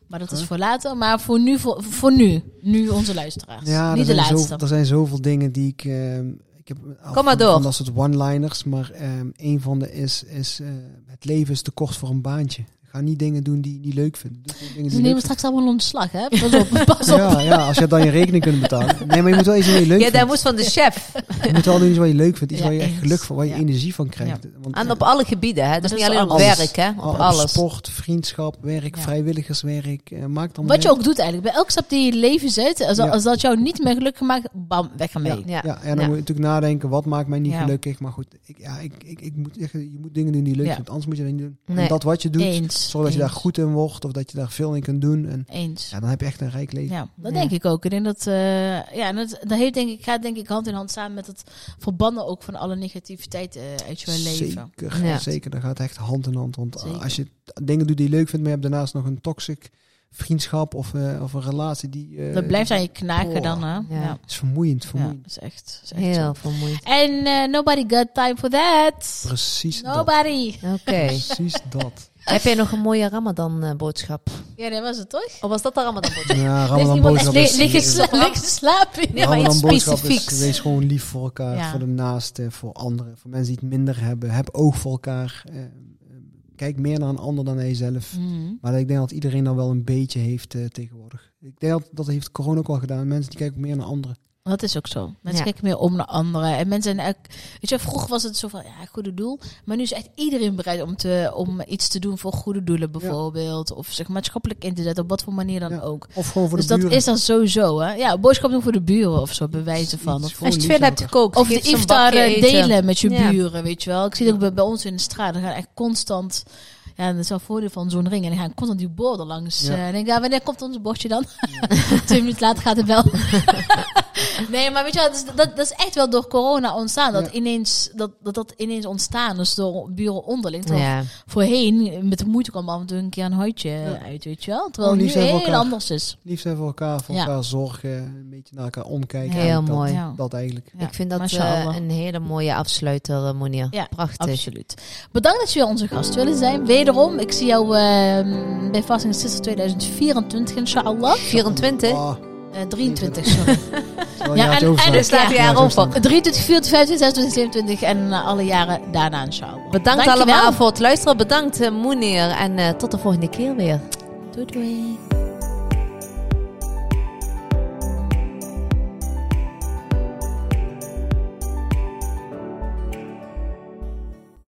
Maar dat is
Oh. Huh?
voor later. Maar voor nu, voor, voor nu. Nu onze luisteraars. Niet
Ja,
de
er, zijn
laatste.
zoveel, er zijn zoveel dingen die ik... ehm, ik heb een aantal
maar
van-
door.
Van dat soort one-liners, maar ehm een van de is... is eh, het leven is te kort voor een baantje. Ga niet dingen doen die je niet leuk vindt. Doe gewoon dingen die
Ze
je leuk
nemen
vindt.
straks allemaal ontslag, hè? Pas op, pas op.
Ja, ja, als je dan je rekening kunt betalen. Nee, maar je moet wel iets doen wat je leuk
Ja,
vindt.
daar moest van de chef.
Je moet wel doen iets wat je leuk vindt. Iets
Ja,
waar je echt
eens.
geluk van, waar je
Ja.
energie van krijgt. Want,
En
eh,
op alle gebieden, hè? Dus
Dat
niet
is
alleen op
alles.
werk, hè? Op
op
alles.
Sport, vriendschap, werk,
Ja.
vrijwilligerswerk. eh, maakt allemaal
Wat je ook doet eigenlijk. Bij elke stap die je leven zet, als,
Ja.
als dat jou niet meer gelukkig maakt, bam, weg ermee.
Ja.
Ja, en dan moet je natuurlijk nadenken, wat maakt mij niet
Ja.
gelukkig? Maar goed, ik, ja, ik, ik, ik moet echt, je moet dingen doen die je leuk
Ja.
vindt, anders moet je dat niet doen.
Nee.
En dat wat je doet,
Eens.
zorg dat je daar
Eens.
goed in wordt of dat je daar veel in kunt doen. En
Eens.
ja, dan heb je echt een rijk leven.
Ja, dat
Ja.
denk ik ook. Ik denk dat, eh, ja, en dat, dat heeft denk ik, gaat denk ik hand in hand samen met het verbannen ook van alle negativiteit eh, uit je leven.
Zeker,
Ja.
zeker. Dat gaat echt hand in hand. Want eh,
Zeker.
als je t- dingen doet die je leuk vindt, maar je hebt daarnaast nog een toxic vriendschap of, eh, of een relatie die... eh,
Dat blijft aan je knaken
oh,
dan, hè? Ja, ja.
is vermoeiend,
dat
vermoeiend.
is echt. dat is echt zo.
Heel vermoeiend.
En eh, nobody got time for that.
Precies dat.
Nobody.
Oké.
Precies dat.
Heb jij nog een mooie Ramadan-boodschap?
Ja, dat was het toch?
Of Oh, was dat de Ramadan-boodschap?
Ja,
iemand
Ramadan
echt
boodschap
li-
is...
liggen
is-
sla-
Lekker slapen.
Nee, maar iets
Ramadan boodschap is,
specifieks.
wees gewoon lief voor elkaar,
Ja.
voor de naasten, voor anderen, voor mensen die het minder hebben. Heb oog voor elkaar. eh, eh, kijk meer naar een ander dan naar jezelf.
Mhm.
Maar ik denk dat iedereen dan wel een beetje heeft eh, tegenwoordig. Ik denk dat, dat heeft corona ook wel gedaan. Mensen die kijken ook meer naar anderen.
Dat is ook zo. Mensen
Ja.
kijken meer om naar anderen. En mensen zijn ook, weet je, vroeger was het zo van ja, goede doel. Maar nu is echt iedereen bereid om, te, om iets te doen voor goede doelen, bijvoorbeeld. Of zich maatschappelijk in te zetten, op wat voor manier dan
Ja,
ook.
Of gewoon voor
Dus
de
dat
buren.
is dan sowieso, hè? Ja, boodschap doen voor de buren of zo, bewijzen
Iets-
van.
iets
Of,
voor
Als je
lief
veel
voor
hebt
elkaar.
gekookt,
of
geef
de
ze een
iftar
bakje
eh,
eten.
delen met je
Ja.
buren, weet je wel. Ik zie dat ook bij, bij ons in de straat. Dan gaan echt constant. Ja, dat is wel het voordeel van zo'n ring. En dan gaan constant die borden langs.
Ja.
eh, en denk ik, ja, wanneer komt ons bordje dan? Twee minuten later gaat het wel. nee, maar weet je wel, dat is, dat, dat is echt wel door corona ontstaan. Dat,
Ja.
ineens, dat, dat dat ineens ontstaan is door buren onderling. Terwijl
Ja.
Voorheen, met de moeite kwam af en toe een keer een houtje eh, uit, weet je wel. Terwijl
Oh,
het
die
nu
zijn voor
heel
elkaar.
anders is.
Lief zijn voor elkaar, voor
Ja.
elkaar zorgen, een beetje naar elkaar omkijken.
Heel
En dat,
mooi.
Ja.
Dat eigenlijk.
Ja,
Ik vind dat
mashallah.
eh, een hele mooie afsluiter, eh, Monia.
Ja,
Prachtig.
Absoluut. Bedankt dat je weer onze gast willen zijn. Wederom, ik zie jou ehm, bij Fasting Sisters 2024, inshallah.
24?
Ah,
Eh 23, sorry.
terwijl je had Oh, het over
dus
staan.
laat
ja,
je
Ja, zo
haar
snel.
over.
23, 24, 25, 26, 27 en eh, alle jaren daarna, inshallah.
Bedankt
Dankjewel.
allemaal voor het luisteren. Bedankt, eh, Moenier. En eh, tot de volgende keer weer.
Doei doei.